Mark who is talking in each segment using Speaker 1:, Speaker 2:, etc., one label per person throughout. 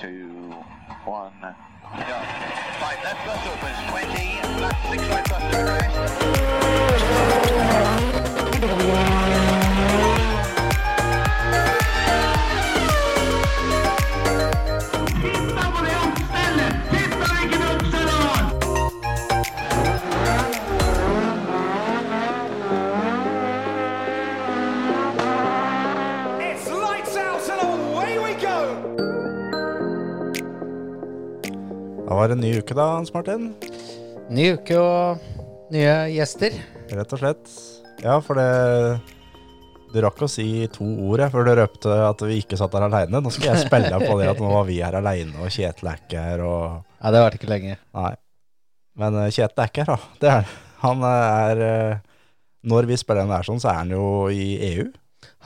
Speaker 1: two, one, go. Right, left bus opens 20, left six right bus to rest.
Speaker 2: It's lights out and away we go!
Speaker 3: Da var det en ny uke da, Hans Martin.
Speaker 4: Ny uke og nye gjester.
Speaker 3: Rett og slett. Ja, for det Du rakk å si to ord jeg, før du røpte at vi ikke satt her aleine. Nå skal jeg spille på det at nå var vi her aleine, og Kjetil er ikke her, og
Speaker 4: Nei, det varte ikke lenge.
Speaker 3: Nei. Men eh, Kjetil er ikke her, da. Det er han. Han er eh, Når vi spiller den her sånn, så er han jo i EU.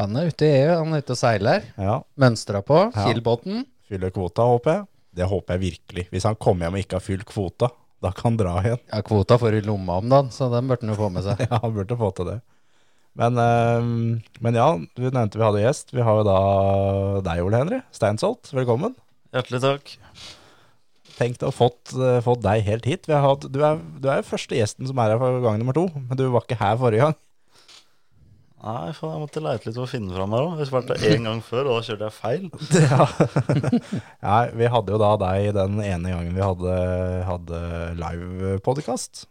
Speaker 4: Han er ute i EU, han er ute og seiler.
Speaker 3: Ja.
Speaker 4: Mønstra på,
Speaker 3: Ja.
Speaker 4: Kielbotn.
Speaker 3: Fyller kvota, håper jeg. Det håper jeg virkelig. Hvis han kommer hjem og ikke har fylt kvota, da kan han dra igjen.
Speaker 4: Ja, kvota får du i lomma om dagen, så den burde han jo få med seg.
Speaker 3: Ja, han burde få til det. Men, eh, men ja, du nevnte vi hadde gjest. Vi har jo da deg, Ole Henry. Steinsholt, velkommen.
Speaker 5: Hjertelig takk.
Speaker 3: Tenk å ha fått, eh, fått deg helt hit. Vi har hatt, du, er, du er jo første gjesten som er her for gang nummer to, men du var ikke her forrige gang.
Speaker 5: Nei, faen, jeg måtte leite litt for å finne fram her òg. Jeg spilte én gang før, og da kjørte jeg feil.
Speaker 3: Ja. Nei, vi hadde jo da deg den ene gangen vi hadde, hadde live podcast.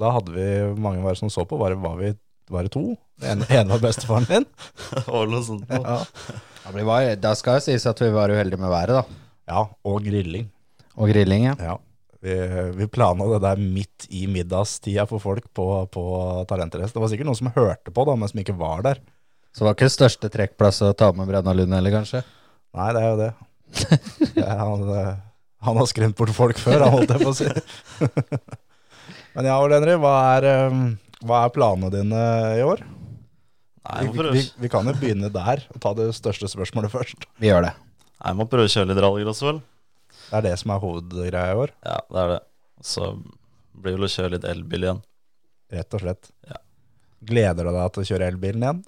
Speaker 3: Da hadde vi hvor mange var det som så på, var det, var vi, var det to? Den ene var bestefaren din.
Speaker 5: Det var noe sånt nå.
Speaker 3: Ja.
Speaker 4: Ja, vi var- Da skal det sies at vi var uheldige med været, da.
Speaker 3: ja, og grilling.
Speaker 4: Og grilling, ja.
Speaker 3: Ja. Vi, vi plana det der midt i middagstida for folk på, på Talentrace. Det var sikkert noen som hørte på, da, men som ikke var der.
Speaker 4: Så det var ikke det største trekkplass å ta med Brenna Lund heller, kanskje.
Speaker 3: Nei, det er jo det. det er han, eh, han har skremt bort folk før, han holdt jeg på å si. men ja, Ole Henry, hva er, eh, hva er planene dine i år? Vi,
Speaker 5: Nei, jeg må
Speaker 3: vi,
Speaker 5: prøve,
Speaker 3: vi kan jo begynne der og ta det største spørsmålet først.
Speaker 4: Vi gjør det.
Speaker 5: jeg må prøve å kjøre litt rallycross, vel.
Speaker 3: Det er det som er hovedgreia i år,
Speaker 5: Ja, det er det. Så blir det vel å kjøre litt elbil igjen.
Speaker 3: rett og slett.
Speaker 5: Ja.
Speaker 3: Gleder du deg til å kjøre elbilen igjen?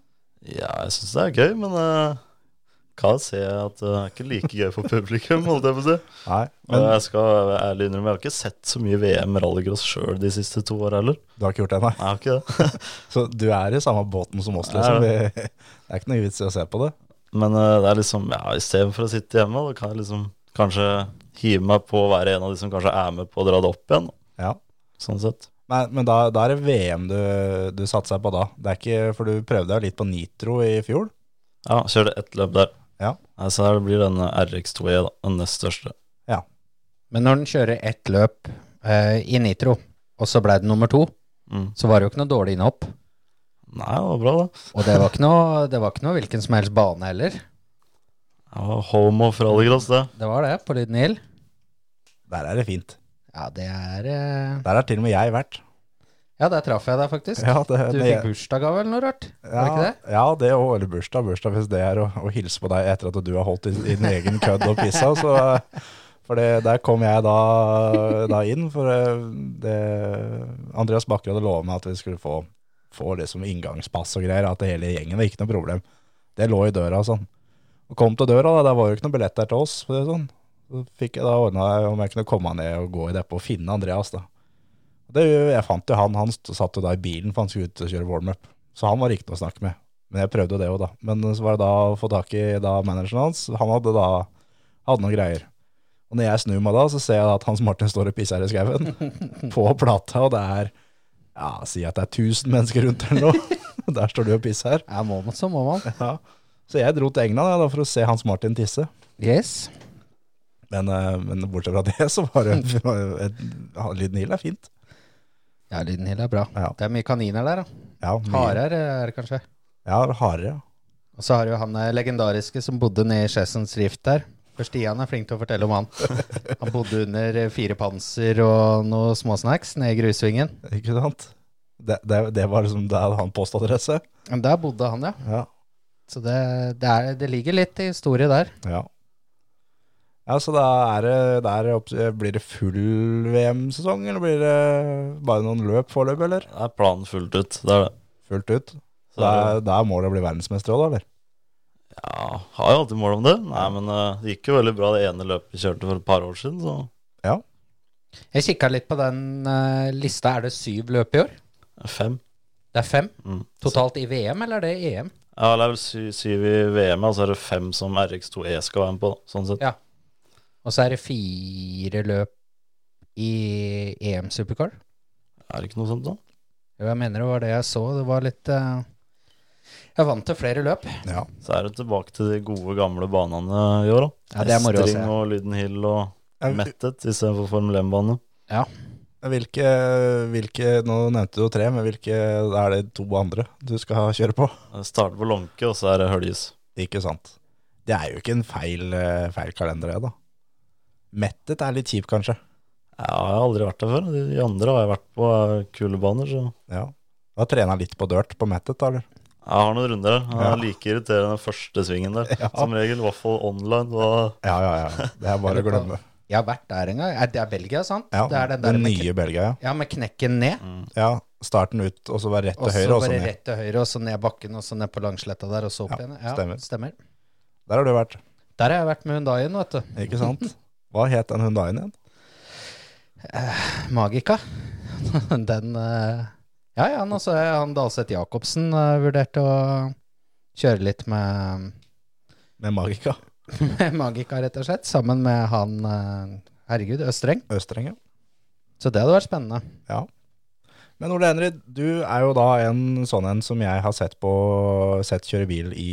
Speaker 5: Ja, jeg syns det er gøy, men eh, hva ser jeg at eh, det er ikke like gøy for publikum, holdt jeg på å si.
Speaker 3: Nei,
Speaker 5: Og
Speaker 3: men
Speaker 5: jeg skal være ærlig innrømme, jeg har ikke sett så mye VM rallycross sjøl de siste to år heller.
Speaker 3: du har ikke gjort det ennå?
Speaker 5: Jeg har ikke det.
Speaker 3: Så du er i samme båten som oss,
Speaker 5: Jeg
Speaker 3: liksom.
Speaker 5: er
Speaker 3: Vi, det er ikke noe vits i å se på det.
Speaker 5: Men eh, det er liksom, ja, istedenfor å sitte hjemme, da kan jeg liksom kanskje hive meg på å være en av de som kanskje er med på å dra det opp igjen.
Speaker 3: Ja.
Speaker 5: Sånn sett.
Speaker 3: Men, men da, da er det VM du, du satser på da. Det er ikke, for du prøvde deg litt på Nitro i fjor.
Speaker 5: Ja, kjørte ett løp der.
Speaker 3: Ja.
Speaker 5: Nei, Så her blir denne RX2E E, da, den nest største.
Speaker 4: Men når den kjører ett løp eh, i Nitro, og så ble det nummer to,
Speaker 5: Mm.
Speaker 4: så var det jo ikke noe dårlig innhopp.
Speaker 5: Nei, det var bra, da.
Speaker 4: Og det var ikke noe, det var ikke noe hvilken som helst bane heller.
Speaker 5: Det var homo fra Allegross, det.
Speaker 4: Det var det, på Lyden Hill.
Speaker 3: Der er det fint.
Speaker 4: Ja, det er eh,
Speaker 3: Der har til og med jeg vært.
Speaker 4: Ja, der traff jeg deg faktisk.
Speaker 3: Ja, det,
Speaker 4: Du fikk bursdagsgave eller noe rart? Var det ikke det?
Speaker 3: Ja, det og eller bursdag, bursdag hvis det er å, å hilse på deg etter at du har holdt i, i din egen kødd og pissa. Så, for det, der kom jeg da, da inn, for eh, det, Andreas Bakker hadde lovet meg at vi skulle få, få liksom inngangspass og greier, at det hele gjengen var ikke noe problem. Det lå i døra og sånn. Og kom til døra, da, der var jo ikke noe billett der til oss. For det, er sånn. Så fikk jeg da ordna om jeg kunne komme ned og gå i depot og finne Andreas, da. Det, jeg fant jo han, han satt jo da i bilen, for han skulle ut og kjøre warm-up. Så han var ikke noe å snakke med. Men jeg prøvde jo det òg, da. Men så var det da å få tak i da manageren hans. Han hadde da hadde noen greier. Og når jeg snur meg da, så ser jeg da at Hans Martin står og pisser i skauen. På plata, og det er Ja, si at det er 1000 mennesker rundt eller noe. Der står du og pisser.
Speaker 4: Ja, må man, så må man.
Speaker 3: Ja. Så jeg dro til England ja, da, for å se Hans Martin tisse.
Speaker 4: Yes.
Speaker 3: Men, eh, men bortsett fra det, så var det en, en, en Lyden Hill er fint.
Speaker 4: Ja, Lyden Hill er bra.
Speaker 3: Ja.
Speaker 4: Det er mye kaniner der, da.
Speaker 3: Ja, mye-
Speaker 4: Harer er det kanskje.
Speaker 3: Ja, harer, ja.
Speaker 4: Og så har du han eh, legendariske som bodde nede i Chessons Rift der. For Stian er flink til å fortelle om han. Han bodde under eh, fire panser og noe småsnacks nede i grusvingen.
Speaker 3: Ikke sant? Det, det, det var liksom der han postadresse.
Speaker 4: Men der bodde han, ja.
Speaker 3: Ja.
Speaker 4: Så det, det, er, det ligger litt historie der.
Speaker 3: ja. Ja, Så da er det, der opp, blir det full VM-sesong, eller blir det bare noen løp foreløpig, eller?
Speaker 5: Det er planen fullt ut. Det er det.
Speaker 3: Fullt ut.
Speaker 5: Så,
Speaker 3: Da, da må det bli verdensmester òg, da, eller?
Speaker 5: Ja, har jo alltid mål om det. Nei, men eh, det gikk jo veldig bra det ene løpet vi kjørte for et par år siden, så
Speaker 3: Ja.
Speaker 4: Jeg kikka litt på den eh, lista. Er det syv løp i år?
Speaker 5: fem.
Speaker 4: Det er fem
Speaker 5: Mm.
Speaker 4: totalt i VM, eller er det E EM?
Speaker 5: Ja, det er vel sy syv i VM, og så er det fem som RX2E skal være med på, da, sånn sett.
Speaker 4: Ja. Og så er det fire løp i EM Supercar.
Speaker 5: Er det ikke noe sånt, da?
Speaker 4: Jo, jeg mener det var det jeg så. Det var litt eh, Jeg vant til flere løp.
Speaker 3: Ja.
Speaker 5: Så er det tilbake til de gode, gamle banene i år, da.
Speaker 4: Ja, det er moro å se.
Speaker 5: Estring og Lyden Hill og Mettet istedenfor Formel 1-bane.
Speaker 4: Ja.
Speaker 3: Hvilke, hvilke, nå nevnte du jo tre, men hvilke er det to andre du skal kjøre på?
Speaker 5: Starter på Lånke, og så er det Høljes.
Speaker 3: Ikke sant. Det er jo ikke en feil, eh, feil kalender, det, da. Mettet er litt kjip, kanskje.
Speaker 5: Ja, jeg har aldri vært der før. De andre har jeg vært på er kule baner, så
Speaker 3: Ja. Du har trena litt på dirt på mettet, da, eller?
Speaker 5: jeg har noen runder her. Det
Speaker 3: Ja.
Speaker 5: er like irriterende den første svingen der.
Speaker 3: Ja.
Speaker 5: Som regel, i hvert fall online. Da,
Speaker 3: Ja, ja, ja. Det er bare å glemme.
Speaker 4: Jeg har vært der en gang. Er det er Belgia, sant?
Speaker 3: Ja,
Speaker 4: det er den der med,
Speaker 3: nye Belgia, ja.
Speaker 4: kn- ja, med knekken ned.
Speaker 3: ja. Starten ut, og så var rett
Speaker 4: Og
Speaker 3: til
Speaker 4: så
Speaker 3: høyre, og så
Speaker 4: bare
Speaker 3: ned.
Speaker 4: rett til høyre, og så ned bakken, og så ned på langsletta der, og så opp
Speaker 3: Ja,
Speaker 4: igjen. Ja,
Speaker 3: stemmer.
Speaker 4: stemmer. stemmer.
Speaker 3: Der har du vært,
Speaker 4: Der har jeg vært med Hundaien, vet du.
Speaker 3: ikke sant? Hva het den Hundaien igjen?
Speaker 4: Magica. Den eh, Ja ja, nå så jeg han Dalseth Jacobsen eh, vurderte å kjøre litt med,
Speaker 3: Med Magica.
Speaker 4: med Magica, rett og slett. Sammen med han eh, Herregud, Østreng.
Speaker 3: Østreng, ja.
Speaker 4: Så det hadde vært spennende.
Speaker 3: Men Ole Henry, du er jo da en sånn en som jeg har sett på sett kjøre bil i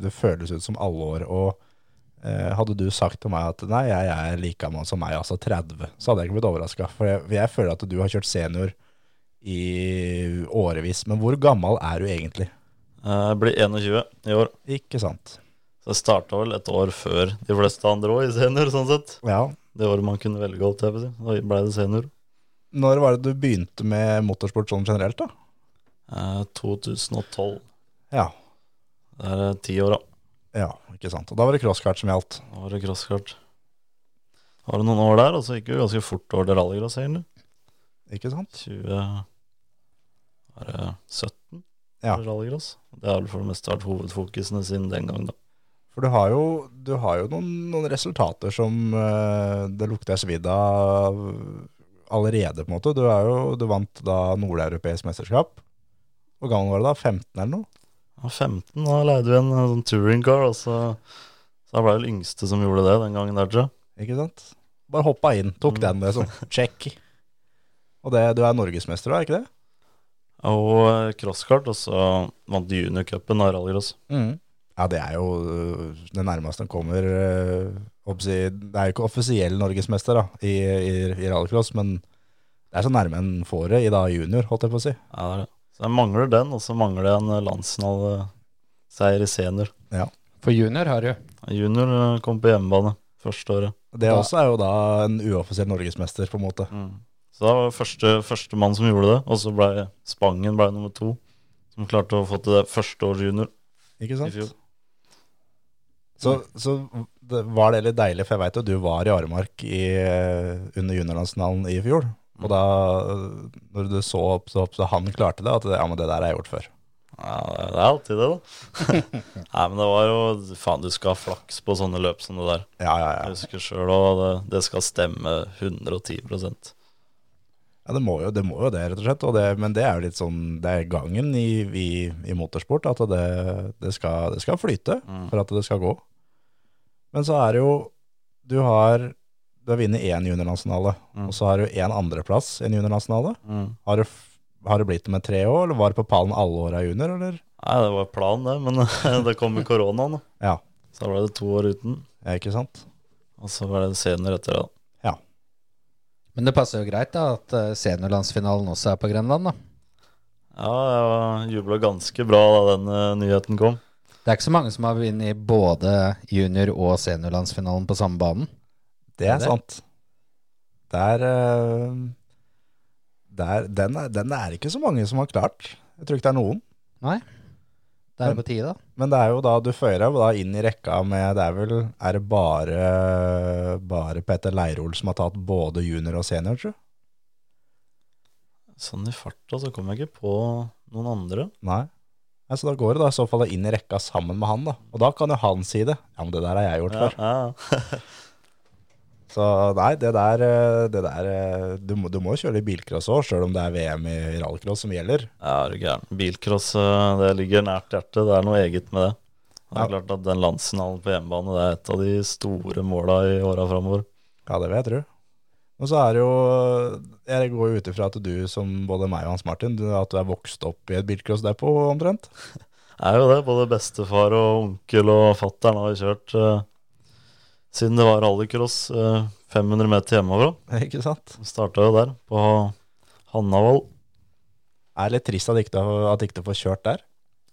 Speaker 3: Det føles ut som alle år. Og eh, hadde du sagt til meg at nei, jeg er like gammel som meg, altså 30, så hadde jeg ikke blitt overraska. For jeg, for jeg føler at du har kjørt senior i årevis. Men hvor gammel er du egentlig?
Speaker 5: eh, jeg blir 21 i år.
Speaker 3: Ikke sant?
Speaker 5: Så jeg starta vel et år før de fleste andre òg, i senior, sånn sett.
Speaker 3: Ja.
Speaker 5: Det året man kunne velge, holdt jeg på å si. Da ble det senior.
Speaker 3: Når var det du begynte med motorsport sånn generelt, da?
Speaker 5: Eh, 2012.
Speaker 3: Ja.
Speaker 5: Det er eh, ti år, da.
Speaker 3: Ja, ikke sant. Og da var det crosskart som gjaldt.
Speaker 5: Da var det crosskart. Da Var det noen år der, og så gikk det jo ganske fort over til rallycross, egentlig.
Speaker 3: Ikke sant?
Speaker 5: 20 Var det 17
Speaker 3: Ja.
Speaker 5: for rallycross? Det har vel for det meste vært hovedfokusene siden den gang, da.
Speaker 3: For du har jo, du har jo noen, noen resultater som eh, det lukter svidd av allerede, på en måte. Du, er jo, du vant da nordeuropeisk mesterskap. Hvor gammel var du da? 15 eller noe?
Speaker 5: Ja, 15, da leide vi en eh, sånn touringcar, og så så jeg ble vel yngste som gjorde det den gangen der, tror jeg.
Speaker 3: Ikke sant? Bare hoppa inn, tok
Speaker 5: Mm.
Speaker 3: den liksom. Check. Og det, du er norgesmester, du er ikke det?
Speaker 5: Og eh, crosskart, og så vant juniorcupen av rallycross.
Speaker 3: Ja, det er jo øh, det nærmeste han kommer øh, oppsi- Det er jo ikke offisiell norgesmester da, i, i, i rallycross, men det er så nærme en får det i da junior, holdt jeg på å si.
Speaker 5: Ja, det er det. Så jeg mangler den, og så mangler jeg en eh, landsfinaleseier i senior.
Speaker 4: For junior har du.
Speaker 5: Junior eh, kom på hjemmebane første året.
Speaker 3: Det
Speaker 4: Da-
Speaker 3: også er jo da en uoffisiell norgesmester, på en måte.
Speaker 5: Mm. Så da var jeg første, første mann som gjorde det, og så ble Spangen ble nummer to. Som klarte å få til det første år junior
Speaker 3: Ikke
Speaker 5: i fjor.
Speaker 3: sant? Så, så det var det litt deilig, for jeg veit jo du var i Aremark i, eh, under juniorlandsfinalen i fjor.
Speaker 5: Mm.
Speaker 3: Og da, øh, når du så opp, så opp, så han klarte det, at det, ja, men det der har jeg gjort før.
Speaker 5: Ja, det er alltid det, da. Nei, men det var jo Faen, du skal ha flaks på sånne løp som det der.
Speaker 3: Ja, ja, ja.
Speaker 5: Jeg husker sjøl òg, det, det skal stemme 110 Ja,
Speaker 3: Ja, det må jo det, må jo det rett og slett. Og det, men det er jo litt sånn, det er gangen i, i, i motorsport at det, det, skal, det skal flyte for at det skal gå. Men så er det jo, du har, du har vunnet én juniorlandsfinale, og så har du én andreplass i en juniorlandsfinale.
Speaker 5: Mm.
Speaker 3: Har, du f- har det blitt med tre år, eller var det på pallen alle åra junior, eller?
Speaker 5: Nei, det var planen, det, men det kom med koronaen, da.
Speaker 3: Ja,
Speaker 5: Så da ble det to år uten.
Speaker 3: ja, ikke sant?
Speaker 5: Og så ble det senior etter det. da.
Speaker 4: Men det passer jo greit da at eh, seniorlandsfinalen også er på Grenland, da.
Speaker 5: Ja, jeg jubla ganske bra da den eh, nyheten kom.
Speaker 4: Det er ikke så mange som har vunnet både junior- og seniorlandsfinalen på samme banen.
Speaker 3: Det er
Speaker 4: Det-
Speaker 3: sant. Der, eh, der, den, er, den er ikke så mange som har klart. Jeg tror ikke det er noen.
Speaker 4: Nei. Det er på tide, da.
Speaker 3: Men det er jo da du fører deg jo da inn i rekka med Det er vel er det bare, bare Petter Leirol som har tatt både junior og senior, tror du?
Speaker 5: Sånn i farta så kom jeg ikke på noen andre.
Speaker 3: Nei. Nei, så da går det da i så fall inn i rekka sammen med han, da. Og da kan jo han si det. Ja, men det der har jeg gjort
Speaker 5: Ja,
Speaker 3: før.
Speaker 5: ja.
Speaker 3: Så nei, det der, eh, det der eh, Du må, du må kjøre litt bilcross òg, sjøl om det er VM i rallcross som gjelder.
Speaker 5: ja, er du gæren. Bilcross eh, det ligger nært hjertet. Det er noe eget med det. Det er
Speaker 3: Ja.
Speaker 5: klart at Den landsfinalen på hjemmebane det er et av de store måla i åra framover.
Speaker 3: Ja, det vil jeg tro. Og så er det jo Jeg går jo ut ifra at du, som både meg og Hans Martin, du, at du er vokst opp i et bilcrossdepot omtrent.
Speaker 5: er jo det. Både bestefar og onkel og fattern har kjørt eh, siden det var rallycross eh, 500 meter hjemmefra.
Speaker 3: Ikke sant?
Speaker 5: Starta jo der, på Hannavoll.
Speaker 3: Er det litt trist at ikke du- at ikke du får kjørt der.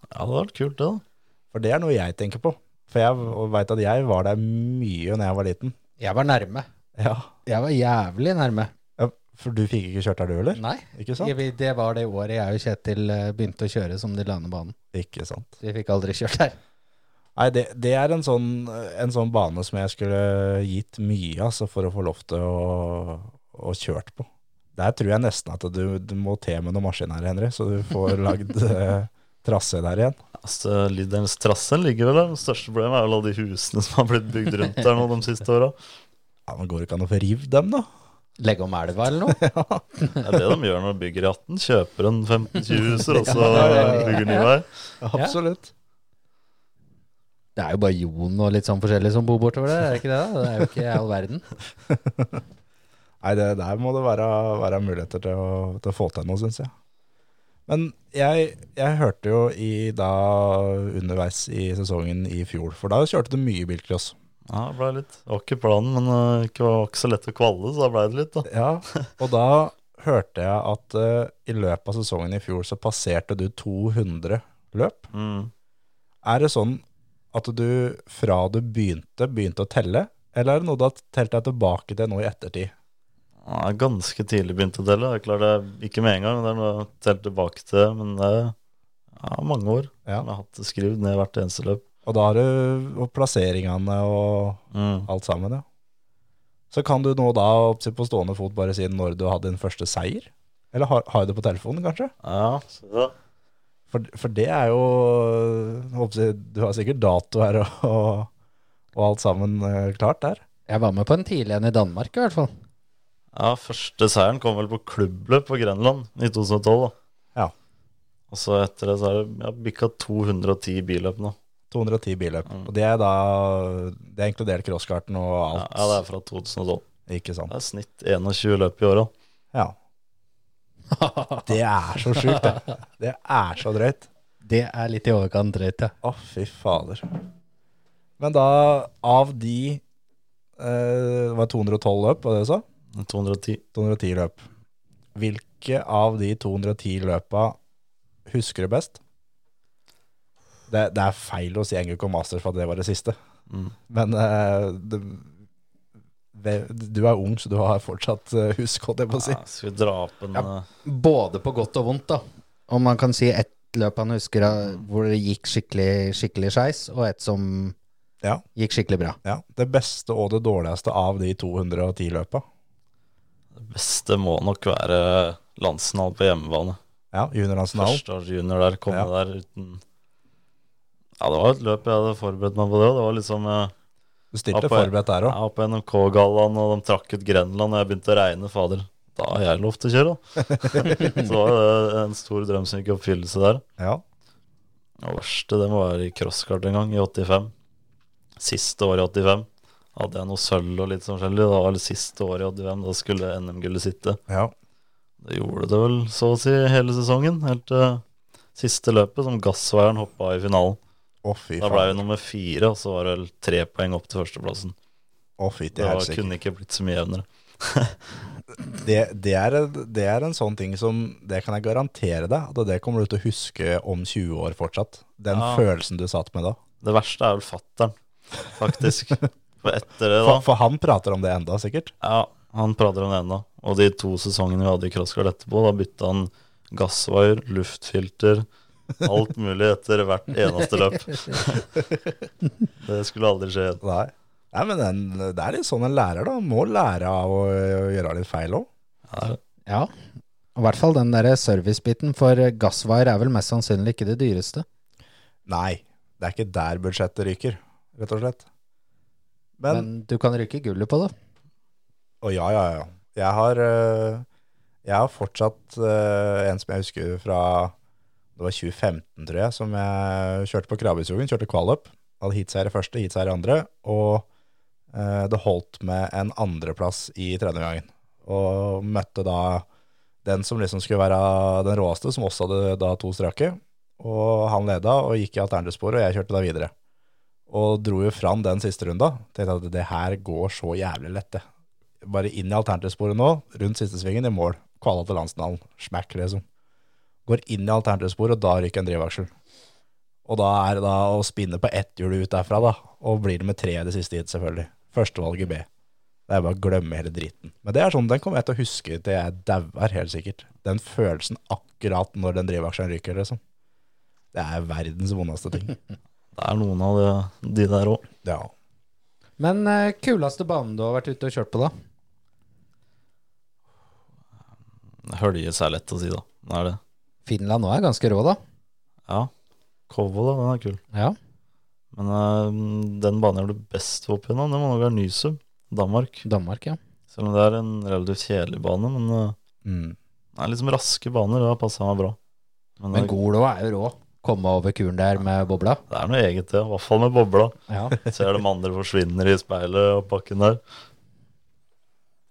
Speaker 5: Ja, det hadde vært kult, det. da.
Speaker 3: For det er noe jeg tenker på. For jeg veit at jeg var der mye når jeg var liten.
Speaker 4: Jeg var nærme.
Speaker 3: Ja.
Speaker 4: Jeg var jævlig nærme.
Speaker 3: ja for du fikk ikke kjørt der, du heller?
Speaker 4: Nei.
Speaker 3: Ikke sant?
Speaker 4: Jeg, det var det året jeg og Kjetil eh, begynte å kjøre som de landebanen.
Speaker 3: Ikke sant.
Speaker 4: Så vi fikk aldri kjørt der.
Speaker 3: Nei, det, det er en sånn, en sånn bane som jeg skulle gitt mye altså, for å få lov til å, å kjørt på. Der tror jeg nesten at du, du må te med noen maskiner, Henry, så du får lagd eh, trasse der igjen.
Speaker 5: Altså, Lidderens trassen ligger vel der. Det største problemet er vel alle de husene som har blitt bygd rundt der nå de siste åra.
Speaker 3: Ja, men Går det ikke an å få riv dem, da?
Speaker 4: Legge om elva eller noe.
Speaker 5: Det er det de gjør når de bygger i 18. Kjøper en 15-20 huser, og så
Speaker 4: det er det.
Speaker 5: bygger ny vei.
Speaker 3: Absolutt.
Speaker 4: Det er jo bare Jon og litt sånn forskjellig som bor bortover der, er det ikke det? da? Det er jo ikke all verden.
Speaker 3: Nei, det, der må det være, være muligheter til å, til å få til noe, syns jeg. Men jeg, jeg hørte jo i, da underveis i sesongen i fjor, for da kjørte du mye bilcross.
Speaker 5: Ja, det ble litt. Det var ikke planen, men eh, ikke- det var ikke så lett å kvalle, så da ble det litt, da.
Speaker 3: Ja, og da hørte jeg at eh, i løpet av sesongen i fjor så passerte du 200 løp.
Speaker 5: Mm.
Speaker 3: Er det sånn at du fra du begynte, begynte å telle, eller er det noe du har telt deg tilbake til nå i ettertid?
Speaker 5: Ja, jeg er ganske tidlig begynt å telle. Jeg klarer det ikke med en gang, det er noe jeg teller tilbake til. Men det er ja, mange år.
Speaker 3: Ja.
Speaker 5: Jeg har hatt det skrevet ned hvert eneste løp.
Speaker 3: Og da har du og plasseringene og
Speaker 5: Mm.
Speaker 3: alt sammen, ja. Så kan du nå da oppsi på stående fot bare si når du hadde din første seier? Eller har, har du det på telefonen, kanskje?
Speaker 5: Ja, så da.
Speaker 3: For, for det er jo oppsi, Du har sikkert dato her og, og, og alt sammen eh, klart der.
Speaker 4: Jeg var med på en tidlig en i Danmark i hvert fall.
Speaker 5: ja, første seieren kom vel på klubbløp på Grenland i 2012. da.
Speaker 3: Ja.
Speaker 5: Og så etter det så er det jeg har bikka 210 billøp nå.
Speaker 3: 210 billøp.
Speaker 5: Mm.
Speaker 3: Og det er da Det er inkludert crosskarten og
Speaker 5: Ja,
Speaker 3: alt.
Speaker 5: ja, det er fra 2012.
Speaker 3: Ikke sant.
Speaker 5: Det er snitt 21 løp i åra.
Speaker 3: Ja. Det er så sjukt, det. Det er så drøyt.
Speaker 4: Det er litt i overkant drøyt, ja.
Speaker 3: Å, fy fader. Men da, av de eh, Det var 212 løp, var det du sa?
Speaker 5: 210.
Speaker 3: 210 løp. Hvilke av de 210 løpa husker du best? Det, det er feil å si Engelco Masters for at det var det siste.
Speaker 5: Mm.
Speaker 3: Men eh, det, ve- du er ung, så du har fortsatt eh, husk, holdt jeg på å si.
Speaker 5: Ja, skal vi dra opp en
Speaker 4: Ja.
Speaker 5: eh,
Speaker 4: Både på godt og vondt, da. Om man kan si ett løp han husker av- hvor det gikk skikkelig skikkelig skeis, og ett som
Speaker 3: Ja.
Speaker 4: gikk skikkelig bra.
Speaker 3: Ja, Det beste og det dårligste av de 210 løpa.
Speaker 5: Det beste må nok være landsfinalen på hjemmebane.
Speaker 3: Ja, juniorlandsfinalen.
Speaker 5: Førsteårs junior der, komme
Speaker 3: Ja.
Speaker 5: der uten Ja, det var et løp jeg hadde forberedt meg på det. og Det var liksom eh,
Speaker 3: Du stilte
Speaker 5: Ja, på-
Speaker 3: forberedt der òg.
Speaker 5: Jeg var på NMK-gallaen, og de trakk ut Grenland, og jeg begynte å regne. Fader, da har jeg lov til å kjøre, da. Så var jo det en stor drøm som gikk i oppfyllelse der.
Speaker 3: Ja.
Speaker 5: Det verste, det må være i crosskart en gang, i 85. Siste år i 85. Hadde jeg noe sølv og litt sånn forskjellig. Det var det siste året i 85, da skulle NM-gullet sitte.
Speaker 3: ja.
Speaker 5: Det gjorde det vel så å si hele sesongen, helt til siste løpet, som Gassveieren hoppa i finalen.
Speaker 3: Å, fy
Speaker 5: Da ble
Speaker 3: faen.
Speaker 5: vi nummer fire, og så var det vel tre poeng opp til førsteplassen.
Speaker 3: Å, fytti
Speaker 5: Det var,
Speaker 3: helsike.
Speaker 5: kunne ikke blitt så mye jevnere.
Speaker 3: det, det, er, det er en sånn ting som Det kan jeg garantere deg at det kommer du til å huske om 20 år fortsatt. Den
Speaker 5: Ja.
Speaker 3: følelsen du satt med da.
Speaker 5: Det verste er vel fattern, faktisk. For etter det, da
Speaker 3: For, for han prater om det enda, sikkert.
Speaker 5: Ja, han prater om det ennå. Og de to sesongene vi hadde i crossguard etterpå, da bytta han gassvaier, luftfilter, alt mulig etter hvert eneste løp. det skulle aldri skje igjen.
Speaker 3: Nei. Nei, men den, Det er litt sånn en lærer, da. Må lære av å, å gjøre litt feil òg.
Speaker 5: Ja,
Speaker 4: Ja. I hvert fall den der servicebiten, for gassvaier er vel mest sannsynlig ikke det dyreste.
Speaker 3: Nei, det er ikke der budsjettet ryker, rett og slett.
Speaker 4: Men,
Speaker 3: Men,
Speaker 4: du kan ryke gullet på det.
Speaker 3: Å ja, ja, ja. Jeg har, øh, jeg har fortsatt øh, en som jeg husker fra Det var 2015, tror jeg, som jeg kjørte på Krabbesjogen. Kjørte kvalup. Hadde heatseier i første, heatseier i andre. Og øh, det holdt med en andreplass i tredje gangen. Og møtte da den som liksom skulle være den råeste, som også hadde da to strake. Og han leda og gikk i alternativsporet, og jeg kjørte da videre. Og dro jo fram den siste runda. Tenkte at det her går så jævlig lett, det bare inn i alternativsporet nå, rundt siste svingen i mål. Kvala til landsfinalen. Smack, liksom. Går inn i alternativsporet, og da ryker en drivaksel. Og da er det da å spinne på ett hjul ut derfra, da. Og blir det med tre i det siste hit, selvfølgelig. Førstevalget B. Det er bare å glemme hele driten. Men det er sånn, den kommer jeg til å huske til jeg dauer, helt sikkert. Den følelsen akkurat når den drivaksjen ryker, liksom. Det er verdens vondeste ting.
Speaker 5: Det er noen av de, de der òg.
Speaker 3: Ja.
Speaker 4: Men eh, kuleste banen du har vært ute og kjørt på, da?
Speaker 5: Høljes er lett å si, da. Det er det.
Speaker 4: Finland òg er ganske rå, da.
Speaker 5: Ja. Kovo, da. Den er kul.
Speaker 4: Ja.
Speaker 5: Men eh, den banen jeg gjorde best opp gjennom, det må nok være Nysum. Danmark.
Speaker 4: Danmark, ja.
Speaker 5: Selv om det er en relativt kjedelig bane, men eh,
Speaker 3: Mm.
Speaker 5: det er liksom raske baner. Det har passa meg bra. Men
Speaker 4: Men
Speaker 5: det,
Speaker 4: Golo er jo rå. Komme over kuren der med bobla.
Speaker 5: det er noe eget, det. I hvert fall med bobla.
Speaker 4: Ja.
Speaker 5: Ser de andre forsvinner i speilet og bakken der.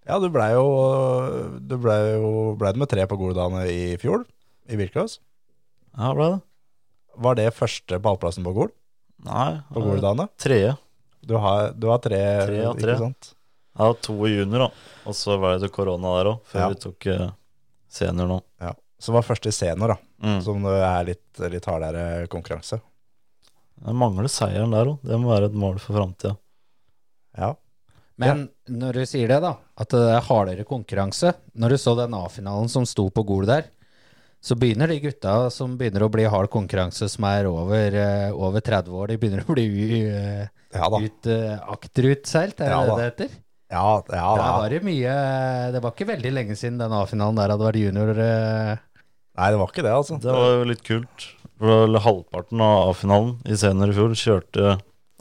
Speaker 3: Ja, du blei jo, du ble jo ble det med tre på Goldane i fjor, i bilcross.
Speaker 5: Ja, ble det?
Speaker 3: Var det første pallplassen på Gol?
Speaker 5: Nei.
Speaker 3: På
Speaker 5: eh,
Speaker 3: Goldane?
Speaker 5: Tredje.
Speaker 3: Du har, du har tre,
Speaker 5: Tre av tre.
Speaker 3: ikke sant?
Speaker 5: Jeg har to i junior, da. Og så var det korona der òg, før
Speaker 3: Ja.
Speaker 5: vi tok eh, senior nå.
Speaker 3: Ja. Som var først i senior, da.
Speaker 5: Mm.
Speaker 3: Som det er litt, litt hardere konkurranse.
Speaker 5: Jeg mangler seieren der òg. Det må være et mål for framtida.
Speaker 3: Ja.
Speaker 4: Men når du sier det, da, at det er hardere konkurranse Når du så den A-finalen som sto på Gol der, så begynner de gutta som begynner å bli hard konkurranse, som er over, eh, over 30 år, de begynner å bli eh,
Speaker 3: Ja da.
Speaker 4: ut, eh, akterutseilt, er det
Speaker 3: Ja
Speaker 4: det
Speaker 3: da.
Speaker 4: det heter?
Speaker 3: Ja, ja da.
Speaker 4: Der var det mye Det var ikke veldig lenge siden den A-finalen der hadde vært junior. eh,
Speaker 3: Nei, det var ikke det, altså.
Speaker 5: Det var jo litt kult. For det var vel Halvparten av A-finalen i senior i fjor kjørte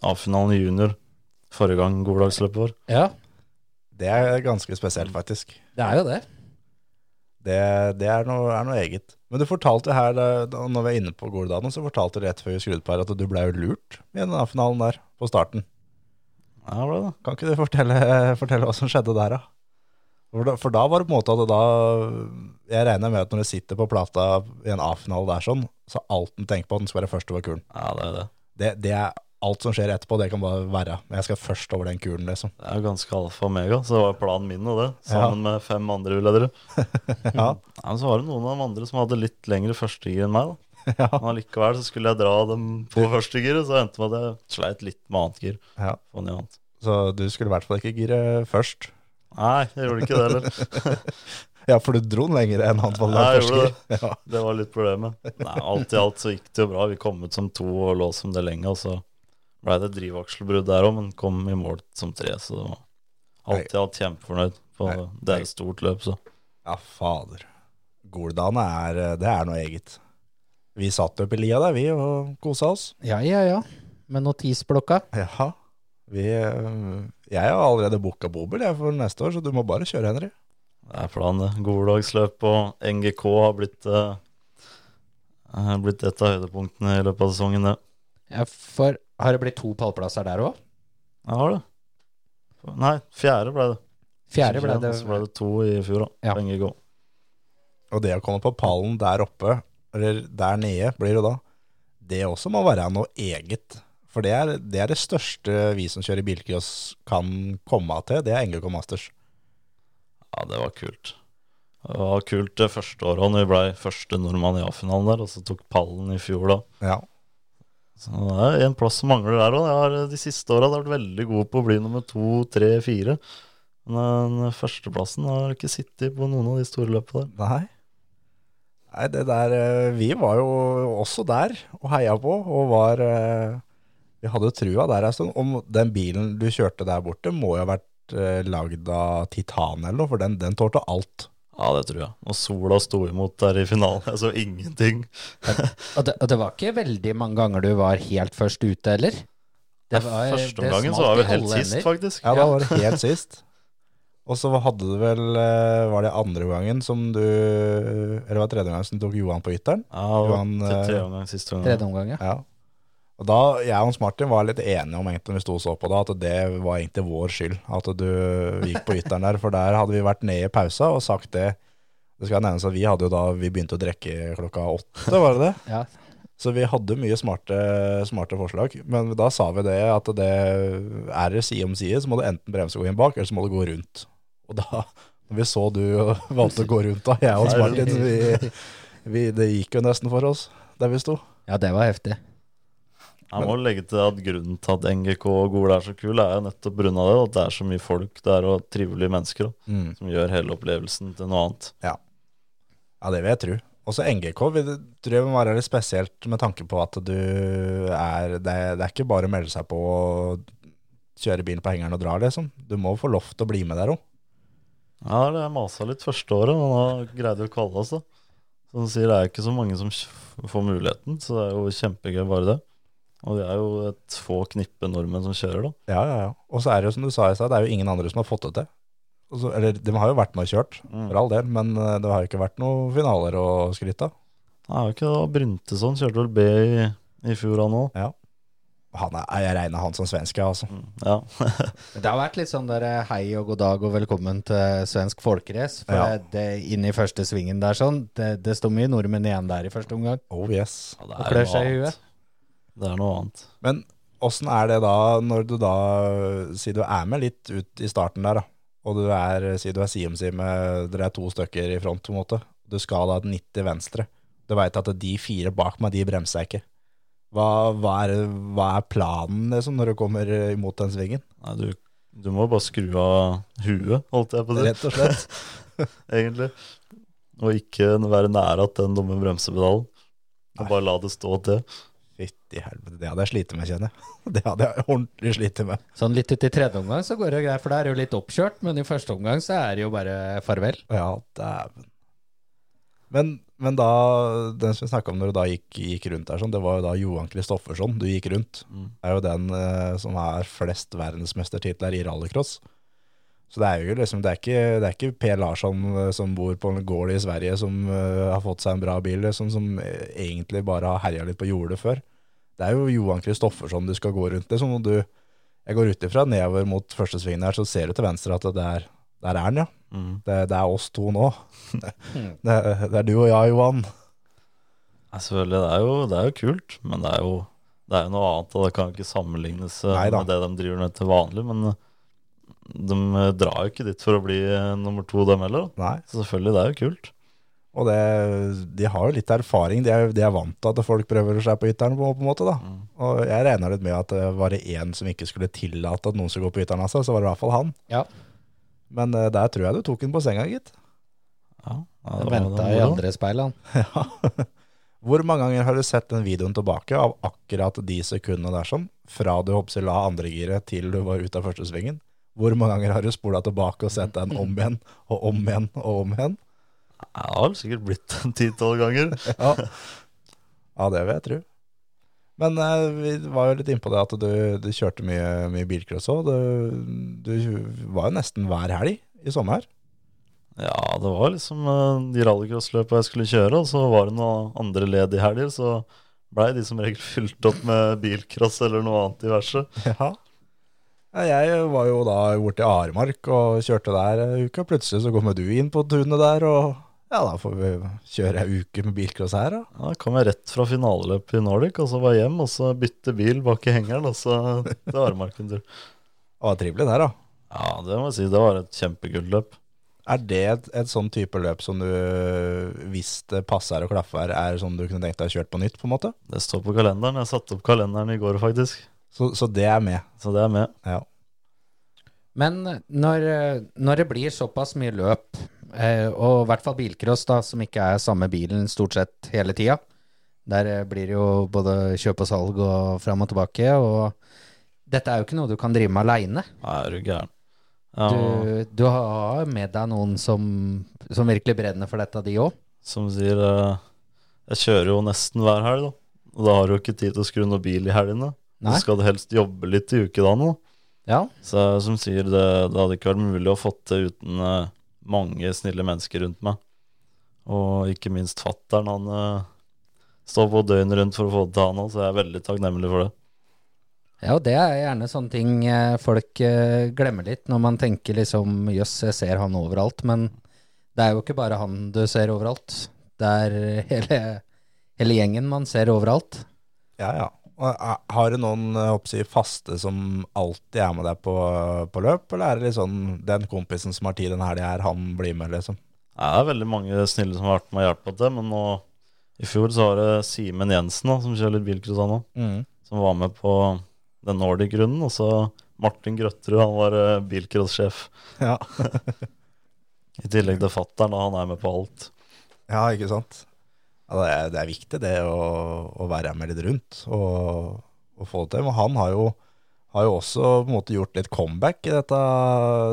Speaker 5: A-finalen i junior forrige gang goddagsløpet var.
Speaker 4: Ja,
Speaker 3: Det er ganske spesielt, faktisk.
Speaker 4: det er jo det.
Speaker 3: Det, det er, noe, er noe eget. Men du fortalte her, da- da- når vi er inne på Goldane, så fortalte du rett før vi skrudde på her at du blei lurt i den A-finalen der, på starten.
Speaker 5: Ja, ble det.
Speaker 3: Kan ikke du fortelle, fortelle hva som skjedde der, da? For da, for da var det på en måte at det da Jeg regner med at når du sitter på plata i en A-finale der sånn, så er alt en tenker på at den skal være først over kulen.
Speaker 5: Ja, det er det.
Speaker 3: Det, det er alt som skjer etterpå, det kan bare være. Men jeg skal først over den kulen, liksom.
Speaker 5: Det er jo ganske alfa og omega, så det var planen min og det. Sammen med fem andre uledere.
Speaker 3: Ja,
Speaker 5: Ja, men så var det noen av de andre som hadde litt lengre førstegir enn meg, da.
Speaker 3: ja,
Speaker 5: Men allikevel så skulle jeg dra dem på førstegiret, så endte det med at jeg sleit litt med annet gir.
Speaker 3: ja.
Speaker 5: Få ned annet.
Speaker 3: Så du skulle i hvert fall ikke gire først.
Speaker 5: Nei, jeg gjorde ikke det heller.
Speaker 3: Ja, for du dro den lenger enn han var
Speaker 5: Ja, jeg
Speaker 3: først.
Speaker 5: gjorde
Speaker 3: gir. Ja.
Speaker 5: Det var litt problemet. Nei, Alt i alt så gikk det jo bra. Vi kom ut som to og lå som det lenge. Og så blei det drivaksjelbrudd der òg, men kom i mål som tre. Så det var alt i alt kjempefornøyd. På
Speaker 3: Nei.
Speaker 5: det er et stort løp, så.
Speaker 3: ja, fader. Goldane er eh, Det er noe eget. Vi satt jo på lia der, vi, og kosa oss.
Speaker 4: Ja, ja, ja. Med notisblokka.
Speaker 3: Jaha. Vi, øh, jeg har allerede booka bobil jeg, for neste år, så du må bare kjøre, Henry.
Speaker 5: Det er planen, det. Goddagsløp og NGK har blitt eh, eh, blitt et av høydepunktene i løpet av sesongen, det.
Speaker 4: Ja, for har det blitt to pallplasser der òg?
Speaker 5: Jeg har det. Nei, fjerde ble det.
Speaker 4: Fjerde ble
Speaker 5: Og
Speaker 4: det.
Speaker 5: Så ble det to i fjor, da.
Speaker 4: Ja.
Speaker 5: På NGK.
Speaker 3: Og det å komme på pallen der oppe, eller der nede, blir det da, det også må være noe eget. For det er det, er det største vi som kjører bilcross kan komme til, det er NGK Masters.
Speaker 5: Ja, det var kult. Det var kult det første året når vi ble første nordmann i A-finalen der, og så tok pallen i fjor da.
Speaker 3: Ja.
Speaker 5: Så det er en plass som mangler der òg. Jeg har eh, de siste åra vært veldig god på å bli nummer to, tre, fire. Men eh, den førsteplassen har ikke sittet på noen av de store løpene der.
Speaker 3: Nei. Nei, det der eh, Vi var jo også der og heia på, og var eh, Vi hadde trua der en stund. Om den bilen du kjørte der borte, må jo ha vært eh, lagd av titan eller noe, for den, den tålte alt.
Speaker 5: Ja, det tror jeg. Og sola sto imot der i finalen. Jeg så ingenting.
Speaker 4: Og det, og det var ikke veldig mange ganger du var helt først ute, heller? Det var- det
Speaker 5: Første omgangen så
Speaker 4: smalt
Speaker 5: var vi
Speaker 4: i
Speaker 5: helt
Speaker 4: alle
Speaker 5: sist,
Speaker 4: ender.
Speaker 5: faktisk.
Speaker 3: Ja, da var det helt sist. Og så hadde du vel eh, Var det andre gangen som du Eller var det tredje gangen som du tok Johan på ytteren?
Speaker 5: Ja, og
Speaker 3: Johan,
Speaker 5: til
Speaker 3: eh,
Speaker 5: tredje omgang, siste omgang.
Speaker 4: Tredje omgang, ja.
Speaker 3: Ja. Og da, jeg og Hans Martin var litt enige om egentlig når vi sto og så på det, at det var egentlig vår skyld at du gikk på ytteren der. For der hadde vi vært nede i pausa og sagt det. Det skal nevnes at vi hadde jo da Vi begynte å drikke klokka åtte, var det det?
Speaker 4: ja.
Speaker 3: Så vi hadde mye smarte, smarte forslag, men da sa vi det at det er det side om side, så må du enten bremse og gå inn bak, eller så må du gå rundt. Og da, når vi så du valgte å gå rundt da, jeg og Hans Martin, vi, vi, det gikk jo nesten for oss der vi sto.
Speaker 4: Ja, det var heftig.
Speaker 5: Jeg må legge til at grunnen til at NGK og Gol er så kul, er jo nettopp pga. det. At det er så mye folk der og trivelige mennesker da,
Speaker 3: Mm.
Speaker 5: som gjør hele opplevelsen til noe annet.
Speaker 3: Ja, det vil jeg tro. Også NGK vil, tror jeg må være litt spesielt med tanke på at du er Det, det er ikke bare å melde seg på og kjøre bilen på hengeren og dra, liksom. Du må få lov til å bli med der òg.
Speaker 5: Ja, det masa litt første året, men nå greide vi å kvalle oss, da. Som du sier, det er ikke så mange som kj- får muligheten, så det er jo kjempegøy bare det. Og det er jo et få knippe nordmenn som kjører, da.
Speaker 3: Ja, ja, ja. Og så er det jo som du sa i stad, det er jo ingen andre som har fått det til. Og så- Eller de har jo vært med og kjørt, for all del, men eh, det har jo ikke vært noen finaler å skryte av.
Speaker 5: Det er jo ikke det. Bryntesson kjørte vel B i, i fjor, han òg.
Speaker 3: Han er, jeg regner han som svenske, altså.
Speaker 5: Ja.
Speaker 4: Det har vært litt sånn der eh, hei og god dag og velkommen til svensk folkerace. For
Speaker 3: Ja.
Speaker 4: det, det inn i første svingen der sånn, det, det sto mye nordmenn igjen der i første omgang.
Speaker 3: Oh yes.
Speaker 5: ja det
Speaker 4: Og klør seg i huet.
Speaker 5: Det er noe annet.
Speaker 3: Men åssen er det da, når du da Si du er med litt ut i starten der, da. Og du er, si du er side om side med Dere er to stykker i front, på en måte. Du skal da 90 venstre. Du veit at de fire bak meg, de bremser jeg ikke. Hva, hva, er, hva er planen, liksom, når du kommer eh, imot den svingen?
Speaker 5: Nei, du, du må bare skru av huet, holdt jeg på å si,
Speaker 3: Rett og slett.
Speaker 5: egentlig. Og ikke være nære at den dumme bremsepedalen. Og
Speaker 3: Nei.
Speaker 5: bare la det stå til.
Speaker 3: Fytti helvete, det hadde jeg slitt med, kjenner jeg. Det hadde jeg ordentlig slitt med.
Speaker 4: Sånn litt ut i tredje omgang så går det jo greit, for da er det jo litt oppkjørt. Men i første omgang så er det jo bare farvel.
Speaker 3: Ja, dæven. Men, men da, den som vi snakka om når du da gikk, gikk rundt der, sånn, det var jo da Johan Kristoffersson du gikk rundt. Det er jo den eh, som har flest verdensmestertitler i rallycross. Så det er jo liksom, det er ikke, det er ikke Per Larsson eh, som bor på en gård i Sverige som eh, har fått seg en bra bil, liksom, som eh, egentlig bare har herja litt på jordet før. Det er jo Johan Kristoffersson du skal gå rundt. Liksom, og du, jeg går ut ifra nedover mot første svingen her, så ser du til venstre at det er, der er han, ja. Det, det er oss to nå. Det, det er du og jeg, Johan.
Speaker 5: Nei, selvfølgelig, det er, jo, det er jo kult, men det er jo, det er jo noe annet, og det kan ikke sammenlignes eh,
Speaker 3: Nei da.
Speaker 5: med det de driver med til vanlig, men eh, de eh, drar jo ikke dit for å bli eh, nummer to, dem heller. da.
Speaker 3: Nei.
Speaker 5: Så selvfølgelig, det er jo kult.
Speaker 3: Og det, de har jo litt erfaring. De er, de er vant til at folk prøver seg på ytteren, på, på en måte. da. Og jeg regner litt med at det var det én som ikke skulle tillate at noen skulle gå på ytteren av seg, så var det i hvert fall han.
Speaker 4: Ja,
Speaker 3: Men eh, der tror jeg du tok den på senga, gitt.
Speaker 5: Ja, ja, det
Speaker 4: Den
Speaker 5: var-
Speaker 4: venta i
Speaker 5: det var-
Speaker 4: andre speil, han.
Speaker 3: Ja. Hvor mange ganger har du sett den videoen tilbake av akkurat de sekundene der sånn, fra du hoppsi la andregiret til du var ute av første svingen? Hvor mange ganger har du spola tilbake og sett den om igjen og om igjen og om igjen?
Speaker 5: Ja, det har vel sikkert blitt en ti-tolv ganger.
Speaker 3: Ja. ja, det vil jeg tro. Men eh, vi var jo litt innpå det at du, du kjørte mye, mye bilcross òg. Du, du var jo nesten hver helg i sommer.
Speaker 5: Ja, det var liksom eh, de rallycrossløpa jeg skulle kjøre, og så var det noen andre ledige helger, så blei de som regel fylt opp med bilcross eller noe annet diverse.
Speaker 3: Ja. Jeg var jo da borte i Aremark og kjørte der en uke, og plutselig så kommer du inn på tunet der, og ja, da får vi kjøre ei uke med bilcross her, da.
Speaker 5: Ja, Da kom jeg rett fra finaleløpet i Nordic, og så var jeg hjem, og så bytte bil bak i hengeren, og så til Aremarken tur.
Speaker 3: Det var trivelig der, da.
Speaker 5: Ja, det må jeg si, det var et kjempegulløp.
Speaker 3: Er det et, et sånn type løp som du, hvis det passer og klaffer, er sånn du kunne tenkt deg å kjørt på nytt, på en måte?
Speaker 5: Det står på kalenderen, jeg satte opp kalenderen i går faktisk,
Speaker 3: Så, så det er med.
Speaker 5: så det er med.
Speaker 3: Ja.
Speaker 4: Men når, eh, når det blir såpass mye løp, eh, og i hvert fall bilcross, da, som ikke er samme bilen stort sett hele tida Der eh, blir det jo både kjøp og salg og fram og tilbake, og dette er jo ikke noe du kan drive med aleine.
Speaker 5: Nei, er du gæren. Ja, og
Speaker 4: Du, du har med deg noen som, som virkelig brenner for dette, de òg.
Speaker 5: som sier eh, Jeg kjører jo nesten hver helg, da. Og da har du jo ikke tid til å skru noe bil i helgene.
Speaker 4: Nei.
Speaker 5: Så skal du helst jobbe litt i ukedagene. da.
Speaker 4: Ja.
Speaker 5: Så jeg som sier det, det hadde ikke vært mulig å få til uten eh, mange snille mennesker rundt meg. Og ikke minst fatteren, han eh, står på døgnet rundt for å få det til han òg, så jeg er veldig takknemlig for det.
Speaker 4: ja, og det er gjerne sånne ting eh, folk eh, glemmer litt når man tenker liksom jøss, jeg ser han overalt. Men det er jo ikke bare han du ser overalt. Det er hele, hele gjengen man ser overalt.
Speaker 3: Ja, ja. Og, eh, Har du noen eh, hoppsi, faste som alltid er med deg på, på løp, eller er det litt sånn den kompisen som har tid denne helga her, han blir med, liksom?
Speaker 5: Det er veldig mange snille som har vært med og hjulpet til, men nå i fjor så var det Simen Jensen da, som kjører litt bilcross han òg, som var med på den Nordic-runden. Og så Martin Grøtterud, han var eh, bilcross-sjef.
Speaker 3: Ja.
Speaker 5: I tillegg til fattern, han er med på alt.
Speaker 3: ja, ikke sant? Ja, det, er, det er viktig det å, å være med litt rundt og, og få det til. Men han har jo, har jo også på en måte gjort litt comeback i dette,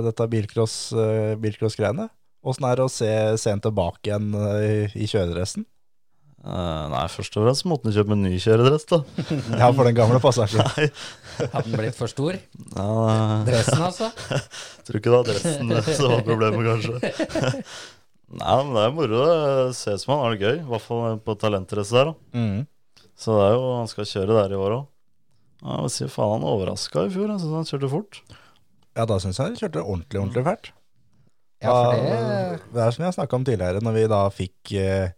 Speaker 3: dette bilcross, eh, bilcross-greiene. Åssen er det å se, se han tilbake igjen eh, i, i kjøredressen?
Speaker 5: Eh, nei, først og fremst måtte han kjøpe en ny kjøredress, da.
Speaker 3: Ja, for den gamle passasjen.
Speaker 4: Har den blitt for stor?
Speaker 5: Ja, jeg
Speaker 4: Dressen, altså?
Speaker 5: tror ikke det var dressen som var problemet, kanskje. Nei, men det er moro. det. Ses med han, er det gøy. I hvert fall på talentrace der. da.
Speaker 3: Mm.
Speaker 5: Så det er jo, han skal kjøre der i år òg. Ja, jeg må si faen, han overraska i fjor. Jeg syns han kjørte fort.
Speaker 3: Ja, da syns jeg de kjørte ordentlig, ordentlig fælt.
Speaker 4: Ja, for
Speaker 3: Da-
Speaker 4: det
Speaker 3: det er som jeg snakka om tidligere, når vi da fikk, eh,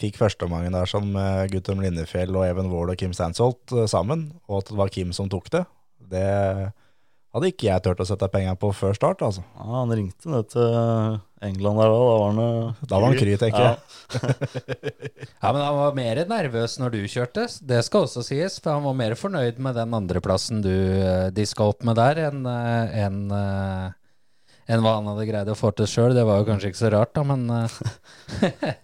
Speaker 3: fikk førsteomgangen der som eh, Guttorm Lindefjell og Even Wold og Kim Stansholt eh, sammen, og at det var Kim som tok det. Det hadde ikke jeg turt å sette penga på før start, altså.
Speaker 5: Ja, han ringte ned til England der da. Da var han eh,
Speaker 3: Da var han kry, tenker jeg.
Speaker 4: Ja, men han var mer nervøs når du kjørte, s- det skal også sies. For han var mer fornøyd med den andreplassen du eh, diska opp med der, enn eh, enn, eh, enn hva han hadde greid å få til sjøl. Det var jo kanskje ikke så rart, da, men eh,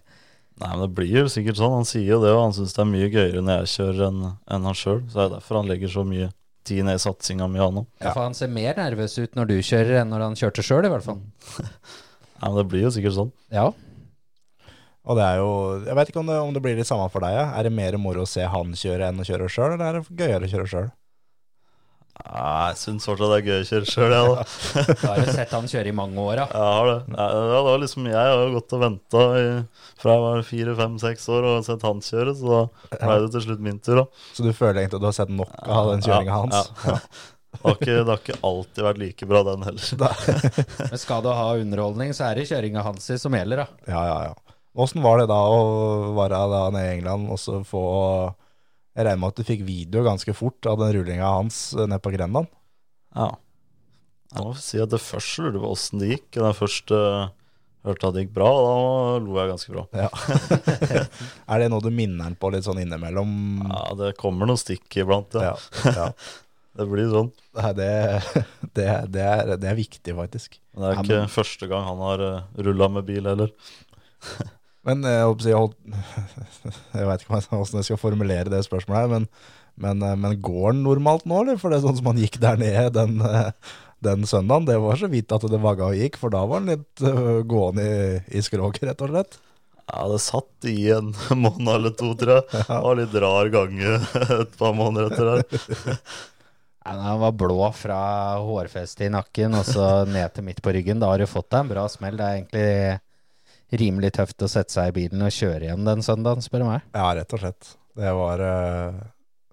Speaker 5: Nei, men det blir jo sikkert sånn. Han sier jo det, og han syns det er mye gøyere når jeg kjører enn enn han sjøl. Så det er derfor han legger så mye tid ned i satsinga mi, han òg.
Speaker 4: ja, for han ser mer nervøs ut når du kjører, enn når han kjørte sjøl, i hvert fall.
Speaker 5: Nei, men det blir jo sikkert sånn.
Speaker 4: Mm. Ja.
Speaker 3: Og det er jo Jeg vet ikke om det, om det blir det samme for deg, ja. Er det mer moro å se han kjøre enn å kjøre sjøl, eller er det gøyere å kjøre sjøl?
Speaker 5: Nei, jeg syns fortsatt det er gøy å kjøre sjøl, jeg, da.
Speaker 4: Da har du sett han kjøre i mange år, da.
Speaker 5: Jeg har det. Nei, Ja, det var liksom, jeg har jo gått og venta fra jeg var fire, fem, seks år og sett han kjøre, så da ble det til slutt min tur, da.
Speaker 3: Så du føler egentlig at du har sett nok av den kjøringa hans?
Speaker 5: Ja. Det, har ikke, det har ikke alltid vært like bra, den heller.
Speaker 4: Men skal du ha underholdning, så er det kjøringa hans i som gjelder, da.
Speaker 3: Ja, ja, ja. Åssen var det da å være da nede i England og så få Jeg regner med at du fikk video ganske fort av den rullinga hans eh, nede på Grenland.
Speaker 5: Ja. Jeg må si at det først lurte på åssen det gikk. Da jeg først eh, hørte at det gikk bra, da lo jeg ganske bra.
Speaker 3: Ja. er det noe du minner han på litt sånn innimellom?
Speaker 5: Ja, Det kommer noen stikk iblant, ja.
Speaker 3: Ja, ja.
Speaker 5: Det blir sånn.
Speaker 3: Nei, Det, det, det, er, det er viktig, faktisk.
Speaker 5: Men det er
Speaker 4: Ja,
Speaker 5: ikke
Speaker 4: men-
Speaker 5: første gang han har uh, rulla med bil heller.
Speaker 3: Men eh, jeg holdt på å si, jeg holdt, Jeg veit ikke åssen jeg skal formulere det spørsmålet her, men, men, eh, men går han normalt nå, eller? For det er sånn som han gikk der nede den, eh, den søndagen, det var så vidt at det vagga og gikk, for da var han litt eh, gående i, i skroget, rett og slett.
Speaker 5: Ja, det satt i en måned eller to, tror jeg. Det var litt rar gange et par måneder etter der.
Speaker 4: Ja, men han var blå fra hårfestet i nakken og så ned til midt på ryggen. Da har du fått deg en bra smell. Det er egentlig rimelig tøft å sette seg i bilen og kjøre igjen den søndagen, spør du meg.
Speaker 3: Ja, rett og slett. Det var, eh,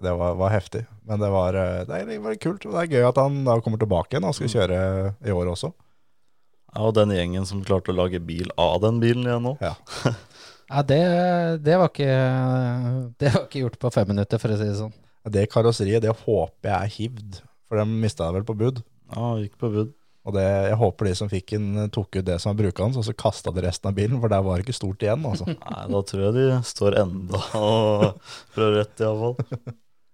Speaker 3: det var, var heftig. Men det var, eh, det er- det var kult. og Det er gøy at han da kommer tilbake igjen og skal kjøre i år også.
Speaker 5: Ja, og den gjengen som klarte å lage bil av den bilen igjen nå.
Speaker 3: Ja.
Speaker 4: Ja, det, det, var ikke, det var ikke gjort på fem minutter, for å si det sånn.
Speaker 3: Det karosseriet, det håper jeg er hivd, for de mista det vel på bud.
Speaker 5: Ja, gikk på bud.
Speaker 3: Og det, jeg håper de som fikk den, eh, tok ut det som var bruket hans, og så kasta de resten av bilen, for der var det ikke stort igjen, altså.
Speaker 5: Nei, da tror jeg de står enda og prøver rett, iallfall.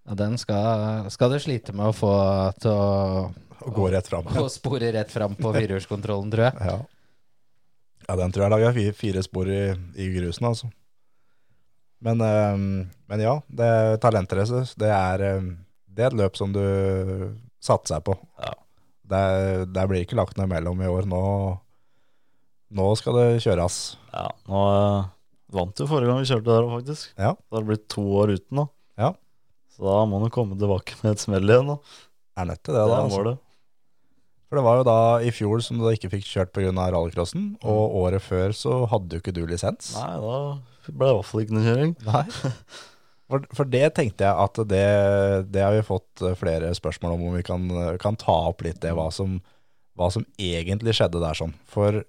Speaker 4: Og den skal, skal du slite med å få til å,
Speaker 3: Og gå rett fram.
Speaker 4: å spore rett fram på firehjulskontrollen, tror jeg.
Speaker 3: Ja. ja, den tror jeg laga fire, fire spor i, i grusen, altså. Men, eh, men ja, det ehm, talentrace, det er eh, det er et løp som du satser på.
Speaker 5: Ja.
Speaker 3: Det, det blir ikke lagt noe mellom i år. Nå, nå skal det kjøres.
Speaker 5: Ja, nå eh, vant jo forrige gang vi kjørte der òg, faktisk.
Speaker 3: Ja.
Speaker 5: Da har det blitt to år uten, da.
Speaker 3: Ja.
Speaker 5: Så da må han jo komme tilbake med et smell igjen, da.
Speaker 3: Det er nødt til det,
Speaker 5: det
Speaker 3: da.
Speaker 5: er
Speaker 3: Altså.
Speaker 5: målet.
Speaker 3: For det var jo da i fjor som du ikke fikk kjørt pga. rallycrossen, og året før så hadde jo ikke du lisens.
Speaker 5: Mm. Nei, da ble det i hvert fall ikke noe kjøring.
Speaker 3: Nei. For, for det tenkte jeg at det, det har vi fått eh, flere spørsmål om, om vi kan, eh, kan ta opp litt det,
Speaker 5: Mm.
Speaker 3: hva som, hva som egentlig skjedde der sånn. For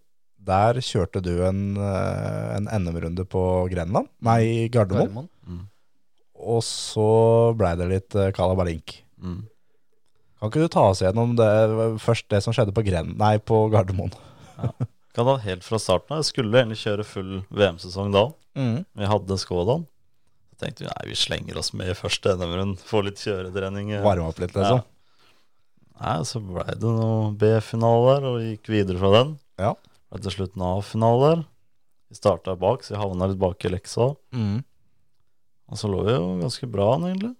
Speaker 3: der kjørte du en, eh, en NM-runde på Grenland,
Speaker 5: Mm.
Speaker 3: nei, Gardermoen,
Speaker 4: Gardermoen.
Speaker 3: og så blei det litt eh, kalabalink.
Speaker 5: Mm.
Speaker 3: Kan ikke du ta oss gjennom det, eh, først det som skjedde på, Gren, nei, på Gardermoen?
Speaker 5: Kan da helt fra starten av. Jeg skulle egentlig kjøre full VM-sesong da. Vi hadde Skodaen. Så tenkte vi nei, vi slenger oss med i første NM-rund, får litt kjøretrening. eh.
Speaker 3: Varme opp litt, liksom.
Speaker 5: Nei, så ble det noe B-finale der, og gikk videre fra den.
Speaker 3: Ja.
Speaker 5: Ble til slutt en A-finale der. Vi starta bak, så jeg havna litt bak i leksa.
Speaker 3: Mm.
Speaker 5: Og så lå vi jo ganske bra an, egentlig.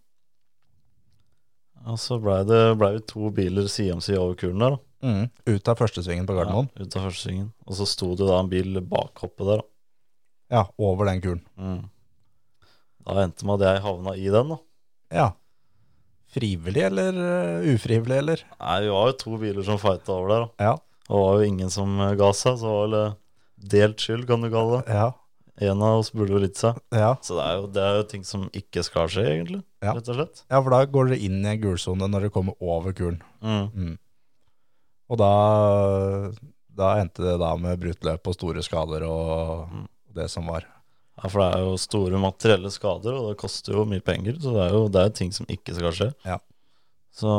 Speaker 5: Og så blei det ble vi to biler side om side over kulen der. da.
Speaker 3: Mm. Ut av førstesvingen på Gardermoen?
Speaker 5: Ja, ut av første svingen. Og så sto det da en bil bak hoppet der, da. Mm.
Speaker 3: Ja. over den kulen.
Speaker 5: Da endte det med at jeg havna i den, da.
Speaker 3: Ja. Frivillig eller eh, ufrivillig, eller?
Speaker 5: Nei, vi var jo to biler som fighta over der, da.
Speaker 3: Ja.
Speaker 5: Og det var jo ingen som eh, ga seg, så det var vel eh, delt skyld, kan du kalle det.
Speaker 3: Ja.
Speaker 5: En av oss burde jo litt seg.
Speaker 3: Ja.
Speaker 5: Så det er jo, det er jo ting som ikke skal skje, egentlig.
Speaker 3: Ja.
Speaker 5: Rett og slett.
Speaker 3: ja, for da går dere inn i en gulsone når dere kommer over kulen.
Speaker 5: Mm.
Speaker 3: Og da, da endte det da med brutt løp og store skader og det som var.
Speaker 5: Ja, for det er jo store materielle skader, og det koster jo mye penger. Så det er jo det er jo ting som ikke skal skje.
Speaker 3: Ja.
Speaker 5: Så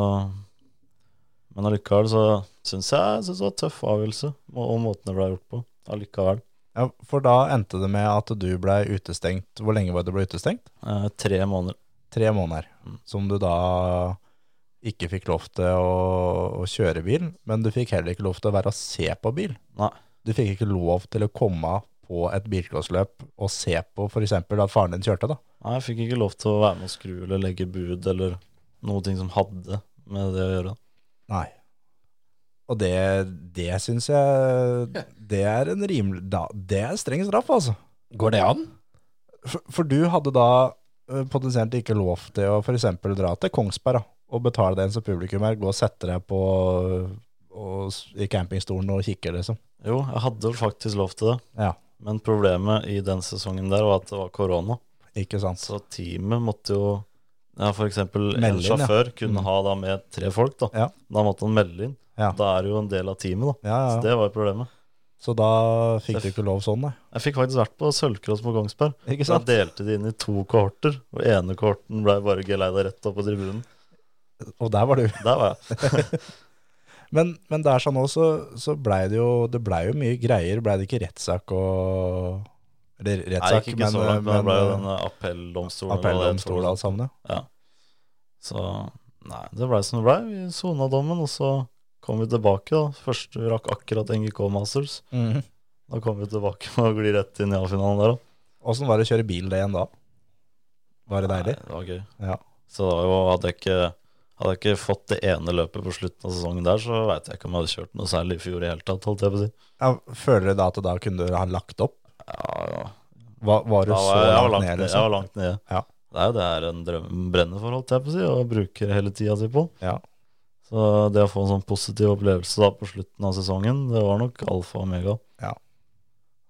Speaker 5: Men allikevel så syns jeg, jeg synes det var en tøff avgjørelse, og, og måten det ble gjort på. Allikevel.
Speaker 3: Ja, For da endte det med at du ble utestengt. Hvor lenge var det du ble utestengt?
Speaker 5: Eh, tre måneder.
Speaker 3: Tre måneder.
Speaker 5: Mm.
Speaker 3: Som du da ikke fikk lov til å, å kjøre bil, men du fikk heller ikke lov til å være og se på bil.
Speaker 5: Nei.
Speaker 3: du fikk ikke lov til å komme på et bilcrossløp og se på f.eks. at faren din kjørte, da.
Speaker 5: Nei, jeg fikk ikke lov til å være med å skru eller legge bud eller noe ting som hadde med det å gjøre.
Speaker 3: Nei. Og det, det syns jeg Det er en rimelig da, Det er streng straff, altså.
Speaker 4: Går det an?
Speaker 3: For, for du hadde da eh, potensielt ikke lov til å f.eks. dra til Kongsberg da, og betale deg inn som publikummer, gå og sette deg på og, s- i campingstolen og kikke, liksom.
Speaker 5: Jo, jeg hadde vel faktisk lov til det,
Speaker 3: Ja,
Speaker 5: men problemet i den sesongen der var at det var korona.
Speaker 3: ikke sant.
Speaker 5: Så teamet måtte jo ja, For eksempel
Speaker 3: Melde
Speaker 5: en
Speaker 3: inn, ja.
Speaker 5: sjåfør kunne
Speaker 3: Mm.
Speaker 5: ha da med tre folk. Da
Speaker 3: Ja.
Speaker 5: Da måtte han melde inn.
Speaker 3: Ja.
Speaker 5: Da er det jo en del av teamet, da.
Speaker 3: Ja,
Speaker 5: Så
Speaker 3: ja.
Speaker 5: det var jo problemet.
Speaker 3: Så da fikk du ikke lov sånn, nei.
Speaker 5: Jeg fikk faktisk vært på sølvcross på Kongsberg.
Speaker 3: Ikke
Speaker 5: Da
Speaker 3: sant?
Speaker 5: delte de inn i to kohorter, og ene kohorten ble bare geleida rett opp på tribunen.
Speaker 3: Og der var du.
Speaker 5: Der var jeg.
Speaker 3: Men, men der sånn også, så blei det jo Det blei jo mye greier. Blei det ikke rettssak og Eller
Speaker 5: Jeg
Speaker 3: rettssak,
Speaker 5: gikk ikke
Speaker 3: men,
Speaker 5: så langt, men
Speaker 3: men eh,
Speaker 5: det ble jo den appelldomstolen. og det
Speaker 3: appelldomstol og
Speaker 5: tror jeg.
Speaker 3: alt sammen. ja.
Speaker 5: Så nei, det blei som det blei. Vi sona dommen, og så kom vi tilbake. da Først vi rakk akkurat NGK Masters.
Speaker 3: Mhm.
Speaker 5: Da kom vi tilbake med å gli rett inn i A-finalen der. da
Speaker 3: Åssen var det å kjøre bil det igjen da? Var det deilig?
Speaker 5: Nei, det var gøy.
Speaker 3: Ja.
Speaker 5: Så det var jo, hadde jeg, ikke, hadde jeg ikke fått det ene løpet på slutten av sesongen der, så veit jeg ikke om jeg hadde kjørt noe særlig i fjor i hele tatt, holdt jeg på å si.
Speaker 3: Ja, føler du da at da kunne du ha lagt opp?
Speaker 5: Ja, ja.
Speaker 3: Var, var du
Speaker 5: Da
Speaker 3: så
Speaker 5: var jeg, jeg var
Speaker 3: langt ned,
Speaker 5: Jeg
Speaker 3: liksom?
Speaker 5: var langt nede.
Speaker 3: Ja.
Speaker 5: Det er jo det her en drøm brenner for, holdt jeg på å si, og bruker hele tida si på.
Speaker 3: Ja.
Speaker 5: Så det å få en sånn positiv opplevelse da på slutten av sesongen, det var nok alfa og omega.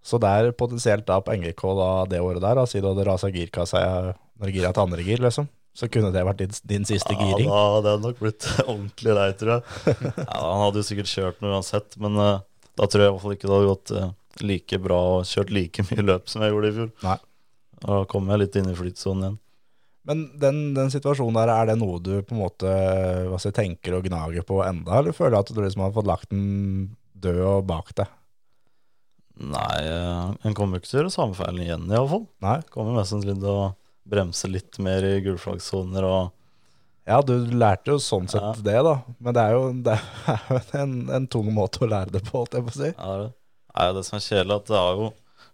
Speaker 3: Så der potensielt da på NGK da, det året der, da, si du hadde rasa girkassa jeg- når gira til andre gir, liksom, så kunne det vært din, din siste giring?
Speaker 5: Ja, da hadde jeg nok blitt ordentlig lei, tror jeg. Ja, han hadde jo sikkert kjørt noe uansett, men eh, da tror jeg i hvert fall ikke det hadde gått eh, like bra og kjørt like mye løp som jeg gjorde i fjor.
Speaker 3: Nei.
Speaker 5: Og Da kom jeg litt inn i flytsonen igjen.
Speaker 3: Men den, den situasjonen der, er det noe du på en måte hva skal jeg, tenker og gnager på enda, eller føler du at du liksom har fått lagt den død og bak deg?
Speaker 5: Nei, eh, en kommer jo ikke til å gjøre samme feilen igjen, i hvert fall.
Speaker 3: Nei?
Speaker 5: Kommer mest sannsynlig til å bremse litt mer i gulflaggsoner og
Speaker 3: Ja, du lærte jo sånn sett
Speaker 5: Ja.
Speaker 3: det, da. Men det er jo, det er jo en, en tung måte å lære det på, holdt jeg på å si.
Speaker 5: ja, det er jo det som er kjedelig, at det har jo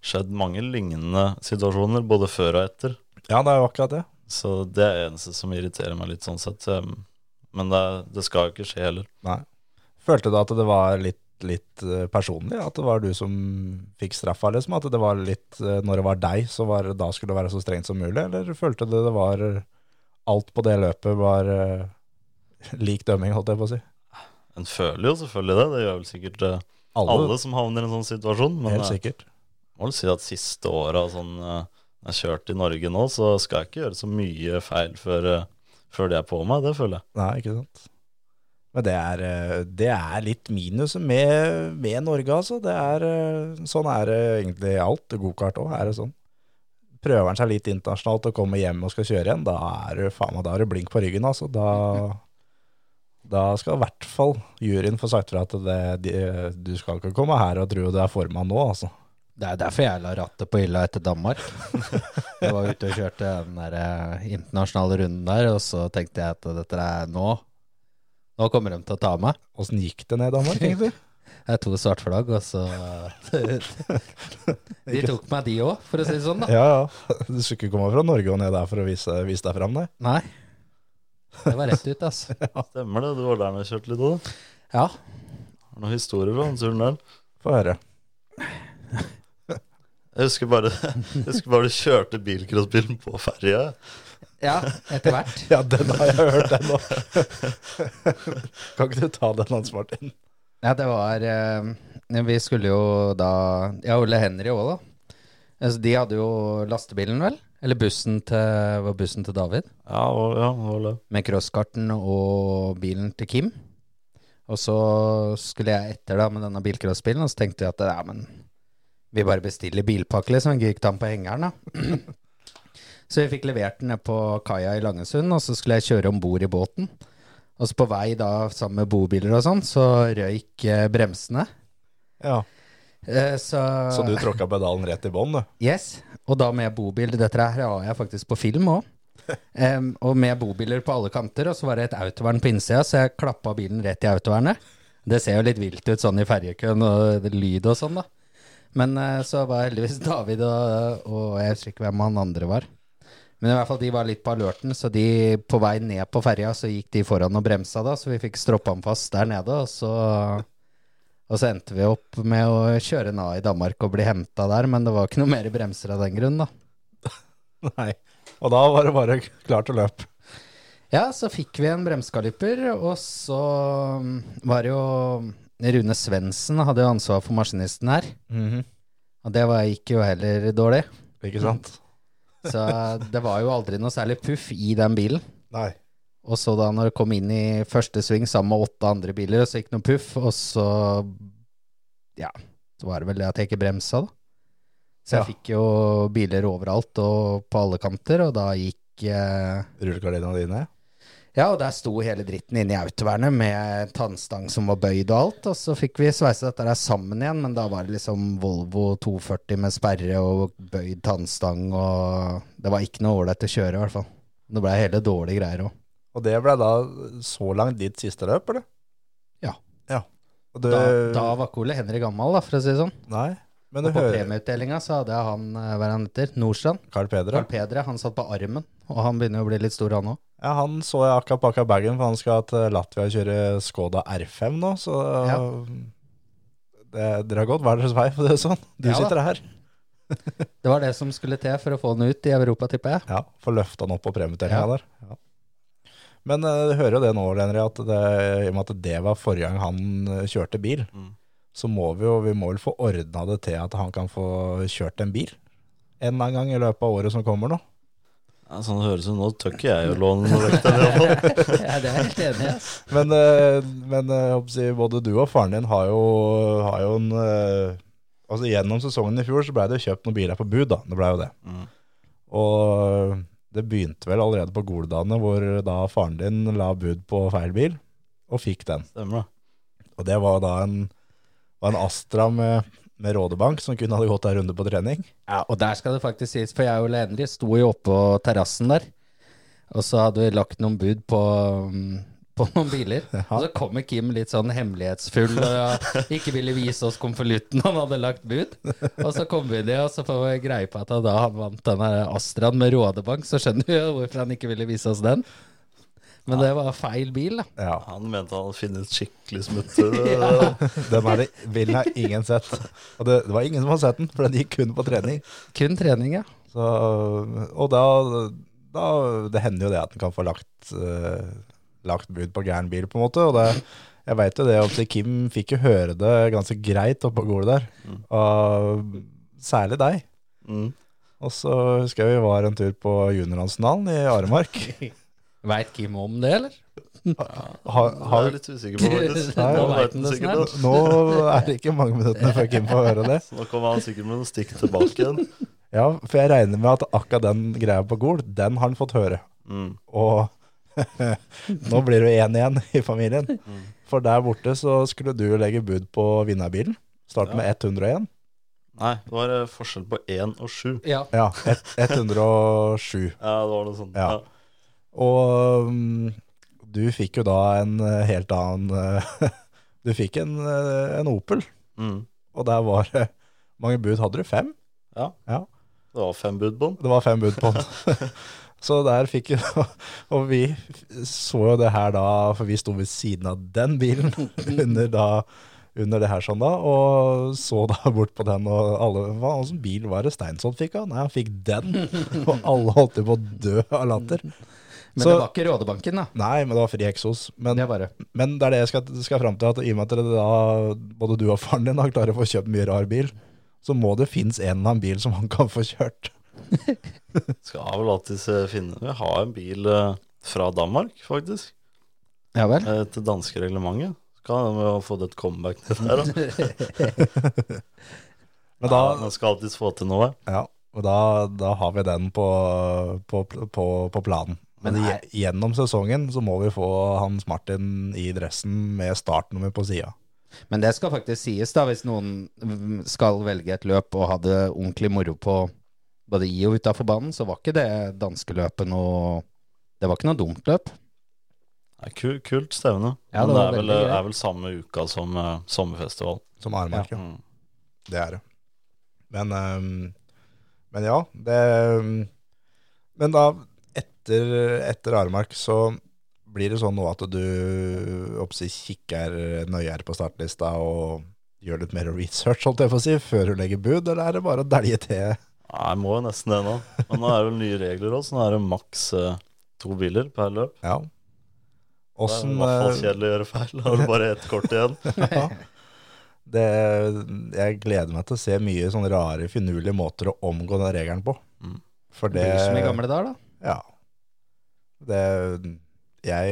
Speaker 5: skjedd mange lignende situasjoner, både før og etter.
Speaker 3: Ja, det er jo akkurat det.
Speaker 5: Så det Um, er det eneste som irriterer meg litt sånn sett. eh, Men det, er- det skal jo ikke skje heller.
Speaker 3: Følte du at det var litt, litt eh, personlig? At det var du som fikk straffa? Liksom? At det var litt eh, Når det var deg, så var, det- da skulle det være så strengt som mulig? Eller følte du det var eh, Alt på det løpet var eh, lik dømming, holdt jeg på å si?
Speaker 5: En føler jo selvfølgelig det. Det gjør vel sikkert eh,
Speaker 3: Alle,
Speaker 5: alle som havner i en sånn situasjon. Men
Speaker 3: helt
Speaker 5: jeg
Speaker 3: sikkert.
Speaker 5: må vel si at siste åra sånn eh, jeg har kjørt i Norge nå, så skal jeg ikke gjøre så mye feil før, eh, før det er på meg. Det føler jeg.
Speaker 3: Nei, ikke sant. Men det er, eh, det er litt minuset med, med Norge, altså. Det er, eh, sånn er det egentlig alt. Gokart òg er det sånn. Prøver en seg litt internasjonalt og kommer hjem og skal kjøre igjen, da er du faen meg, da er du blink på ryggen, altså. Da, da skal i hvert fall juryen få sagt fra at det, de, du skal ikke komme her og tro du er formann nå, altså.
Speaker 4: Det er derfor jeg la rattet på hylla etter Danmark. Jeg var ute og kjørte den der eh, internasjonale runden der, og så tenkte jeg at dette er nå. Nå kommer de til å ta meg.
Speaker 3: Åssen gikk det ned i Danmark, egentlig?
Speaker 4: Det er to svarte flagg, og så eh, De tok meg, de òg, for å si det sånn, da.
Speaker 3: Ja, ja. Du skulle ikke komme fra Norge og ned der for å vise, vise deg fram, nei.
Speaker 4: Nei. Det var rett ut, altså.
Speaker 5: Stemmer det. Du var der når jeg kjørte litt òg, da.
Speaker 4: Ja.
Speaker 5: Har du noen historier fra den turen der?
Speaker 3: Få høre.
Speaker 5: Jeg husker bare, jeg husker bare du kjørte bilcrossbilen på ferja.
Speaker 4: Ja, etter hvert.
Speaker 3: Ja, den har jeg hørt, den òg. kan ikke du ta den, Hans Martin?
Speaker 4: Ja, det var eh, Vi skulle jo da Ja, Ole Henry òg, da. Altså, de hadde jo lastebilen, vel? Eller bussen til, var bussen til David?
Speaker 5: Ja, og, ja, og det.
Speaker 4: Med crosskarten og bilen til Kim. Og så skulle jeg etter da med denne bilcrossbilen, og så tenkte jeg at ja, men vi bare bestiller bilpakke, liksom. Gikk den på hengeren, da. så vi fikk levert den ned på kaia i Langesund, og så skulle jeg kjøre om bord i båten. Og så på vei da sammen med bobiler og sånn, så røyk eh, bremsene.
Speaker 3: Ja.
Speaker 4: Eh, Så,
Speaker 3: Så du tråkka pedalen rett i bånn, du?
Speaker 4: Yes, og da med bobil. Dette her har jeg faktisk på film òg. og med bobiler på alle kanter, og så var det et autovern på innsida, så jeg klappa bilen rett i autovernet. Det ser jo litt vilt ut sånn i ferjekøen og lyd og sånn, da. Men eh, så var heldigvis David og, og jeg husker ikke hvem han andre var. Men i hvert fall de var litt på alerten, så de på vei ned på ferja, så gikk de foran og bremsa da, så vi fikk stroppa han fast der nede, og så og så endte vi opp med å kjøre en A i Danmark og bli henta der, men det var ikke noe mer bremser av den grunn, da.
Speaker 3: Nei. Og da var det bare klart å løpe.
Speaker 4: Ja, så fikk vi en bremsekaliper, og så um, var det jo um, Rune Svendsen hadde jo ansvar for maskinisten her,
Speaker 3: Mhm.
Speaker 4: og det var, gikk jo heller dårlig.
Speaker 3: Ikke sant?
Speaker 4: Så det var jo aldri noe særlig puff i den bilen.
Speaker 3: Nei.
Speaker 4: Og så da når det kom inn i første sving sammen med åtte andre biler, og så gikk det noe puff, og så Ja, så var det vel det at jeg ikke bremsa, da. Så jeg
Speaker 3: Ja.
Speaker 4: fikk jo biler overalt og på alle kanter, og da gikk eh,
Speaker 3: Rullegardina dine?
Speaker 4: Ja, og der sto hele dritten inne i autovernet med tannstang som var bøyd og alt, og så fikk vi sveisa dette der sammen igjen, men da var det liksom Volvo 240 med sperre og bøyd tannstang, og det var ikke noe ålreit å kjøre, i hvert fall. Det blei hele dårlige greier òg.
Speaker 3: Og det ble da så langt ditt siste løp, eller?
Speaker 4: Ja.
Speaker 3: Ja. Og du,
Speaker 4: Da, da var ikke Ole Henry gammel, da, for å si det sånn.
Speaker 3: Nei. Men
Speaker 4: Og
Speaker 3: du
Speaker 4: på
Speaker 3: Eh, hører
Speaker 4: premieutdelinga så hadde jeg han eh, hva er han heter, Nordstrand.
Speaker 3: Carl Peder,
Speaker 4: Carl
Speaker 3: ja.
Speaker 4: Pedre, han satt på armen, og han begynner jo å bli litt stor, han òg.
Speaker 3: ja. Han så jeg akka pakka bagen, for han skal til Latvia og kjøre Skoda R5 nå, så det, Dere har gått hver deres vei, for det er sånn. Du
Speaker 4: Ja da.
Speaker 3: sitter her.
Speaker 4: Det var det som skulle til for å få han ut i Europa, tipper jeg.
Speaker 3: Ja, få løfta han opp på
Speaker 4: Ja.
Speaker 3: premieutdelinga der. Ja. Men eh, du hører jo det nå, Henry, at det, i og med at det var forrige gang han eh, kjørte bil,
Speaker 5: Mm.
Speaker 3: så må vi jo vi må vel få ordna det til at han kan få kjørt en bil en eller annen gang i løpet av året som kommer nå.
Speaker 5: Ja, sånn det høres ut nå. Tør ikke jeg å låne noe vekt av det. i hvert fall.
Speaker 4: ja, det er jeg helt enig i. ass.
Speaker 3: Men, eh, men eh, jeg håper å si, både du og faren din har jo, har jo en eh, Altså Gjennom sesongen i fjor så blei det jo kjøpt noen biler på bud, da. Det blei jo det.
Speaker 5: Mm.
Speaker 3: Og det begynte vel allerede på Goldane, hvor da faren din la bud på feil bil, og fikk den.
Speaker 5: Stemmer det.
Speaker 3: Og det var da en, var en Astra med, med rådebank som kunne hadde gått en runde på trening.
Speaker 4: Ja, og der skal det faktisk sies, for jeg og Ole Henry sto jo oppå terrassen der, og så hadde vi lagt noen bud på mm, på noen biler. Og så kommer Kim litt sånn hemmelighetsfull og ikke ville vise oss konvolutten han hadde lagt bud. Og så kommer vi ned, og så får vi greie på at da han vant denne Astraen med Rådebank, så skjønner vi jo hvorfor han ikke ville vise oss den. Men det var feil bil, da.
Speaker 3: Ja.
Speaker 5: Han mente han hadde funnet skikkelig smutte.
Speaker 3: Den her bilen har ingen sett. Og det, det var ingen som hadde sett den, for den gikk kun på trening.
Speaker 4: Kun trening, ja.
Speaker 3: Så, og da, da Det hender jo det at en kan få lagt, eh, lagt bud på gæren bil, på en måte. Og det, jeg veit jo det at Kim fikk jo høre det ganske greit oppe på gulvet der. Og særlig deg.
Speaker 5: Mm.
Speaker 3: Og så husker jeg vi var en tur på juniorlandsfinalen i Aremark.
Speaker 4: Veit Kim om det, eller?
Speaker 3: Ha,
Speaker 5: Det
Speaker 3: har,
Speaker 5: er jeg litt usikker på, faktisk.
Speaker 4: Nei,
Speaker 5: Nå
Speaker 4: vet han
Speaker 5: vet han
Speaker 4: det
Speaker 5: sikkert
Speaker 4: snart.
Speaker 5: det.
Speaker 3: nå er det ikke mange minuttene før Kim får høre det.
Speaker 5: Så nå kommer han sikkert med noen stikk tilbake igjen.
Speaker 3: Ja, for jeg regner med at akkurat den greia på Gol, den har han fått høre.
Speaker 5: Mm.
Speaker 3: Og nå blir du én igjen i familien. For der borte så skulle du legge bud på vinnerbilen. Start med 101.
Speaker 5: Nei, det var eh, forskjell på én og sju.
Speaker 4: Ja.
Speaker 3: Ja, et, 107.
Speaker 5: Ja, det var noe sånt.
Speaker 3: Ja. Og mm, du fikk jo da en eh, helt annen eh, Du fikk en, eh, en Opel,
Speaker 5: Mm.
Speaker 3: og der var det mange bud. Hadde du fem?
Speaker 5: Ja.
Speaker 3: Ja.
Speaker 5: Det var fem bud på den.
Speaker 3: Det var fem bud på den. Så der fikk jo Og vi så jo det her da, for vi sto ved siden av den bilen under, da, under det her sånn da, og så da bort på den, og alle Hva åssen bil var det Steinsson fikk av? Nei, han fikk den. Og alle holdt jo på å dø av latter.
Speaker 4: Mm. Men
Speaker 3: Så-
Speaker 4: det var ikke Rådebanken, da.
Speaker 3: Nei, men det var fri eksos. Men,
Speaker 4: Det var det.
Speaker 3: men det er det jeg skal, skal fram til, at i og med at dere da, både du og faren din har klart å få kjøpt mye rar bil, så må det finnes en eller annen bil som han kan få kjørt.
Speaker 5: Skal vel alltid eh, finne Vi har en bil eh, fra Danmark, faktisk.
Speaker 4: Ja vel.
Speaker 5: Eh, Etter danske reglementet. Skal han jo få det et comeback til det der, da.
Speaker 3: Men da,
Speaker 5: Ja, man skal alltids få til noe.
Speaker 3: Ja, og da, da har vi den på, på, på, på planen. Men
Speaker 4: Men er-
Speaker 3: gje- gjennom sesongen så må vi få Hans Martin i dressen med startnummer på sida.
Speaker 4: Men det skal faktisk sies, da, hvis noen mm, skal velge et løp og ha det ordentlig moro på både i og utafor banen, så var ikke det danskeløpet noe Det var ikke noe dumt løp.
Speaker 5: Det er ku- kult stevne.
Speaker 4: Ja, det
Speaker 5: Men det
Speaker 4: var
Speaker 5: er vel, eh,
Speaker 4: veldig greit.
Speaker 5: er vel samme uka som eh, sommerfestival.
Speaker 3: Som Aremark, ja.
Speaker 5: Mm.
Speaker 3: Det er det. Men, ehm, men ja, det ehm, Men da, etter, etter Aremark, så blir det sånn nå at du oppsi, kikker nøyere på startlista og gjør litt mer research, holdt jeg på å si, før du legger bud, eller er det bare å dælje til?
Speaker 5: Nei, jeg må jo nesten det nå. Men nå er det vel nye regler også. Nå er det maks eh, to biler per løp.
Speaker 3: Ja.
Speaker 5: Det er i
Speaker 3: Åssen eh,
Speaker 5: hvert fall kjedelig å gjøre feil. Da har du bare ett kort igjen.
Speaker 3: ja. det, Jeg gleder meg til å se mye sånne rare, finurlige måter å omgå den regelen på.
Speaker 5: Mm.
Speaker 3: For
Speaker 4: Det
Speaker 3: det
Speaker 4: blir som i gamle dager, da.
Speaker 3: Ja. Det Jeg,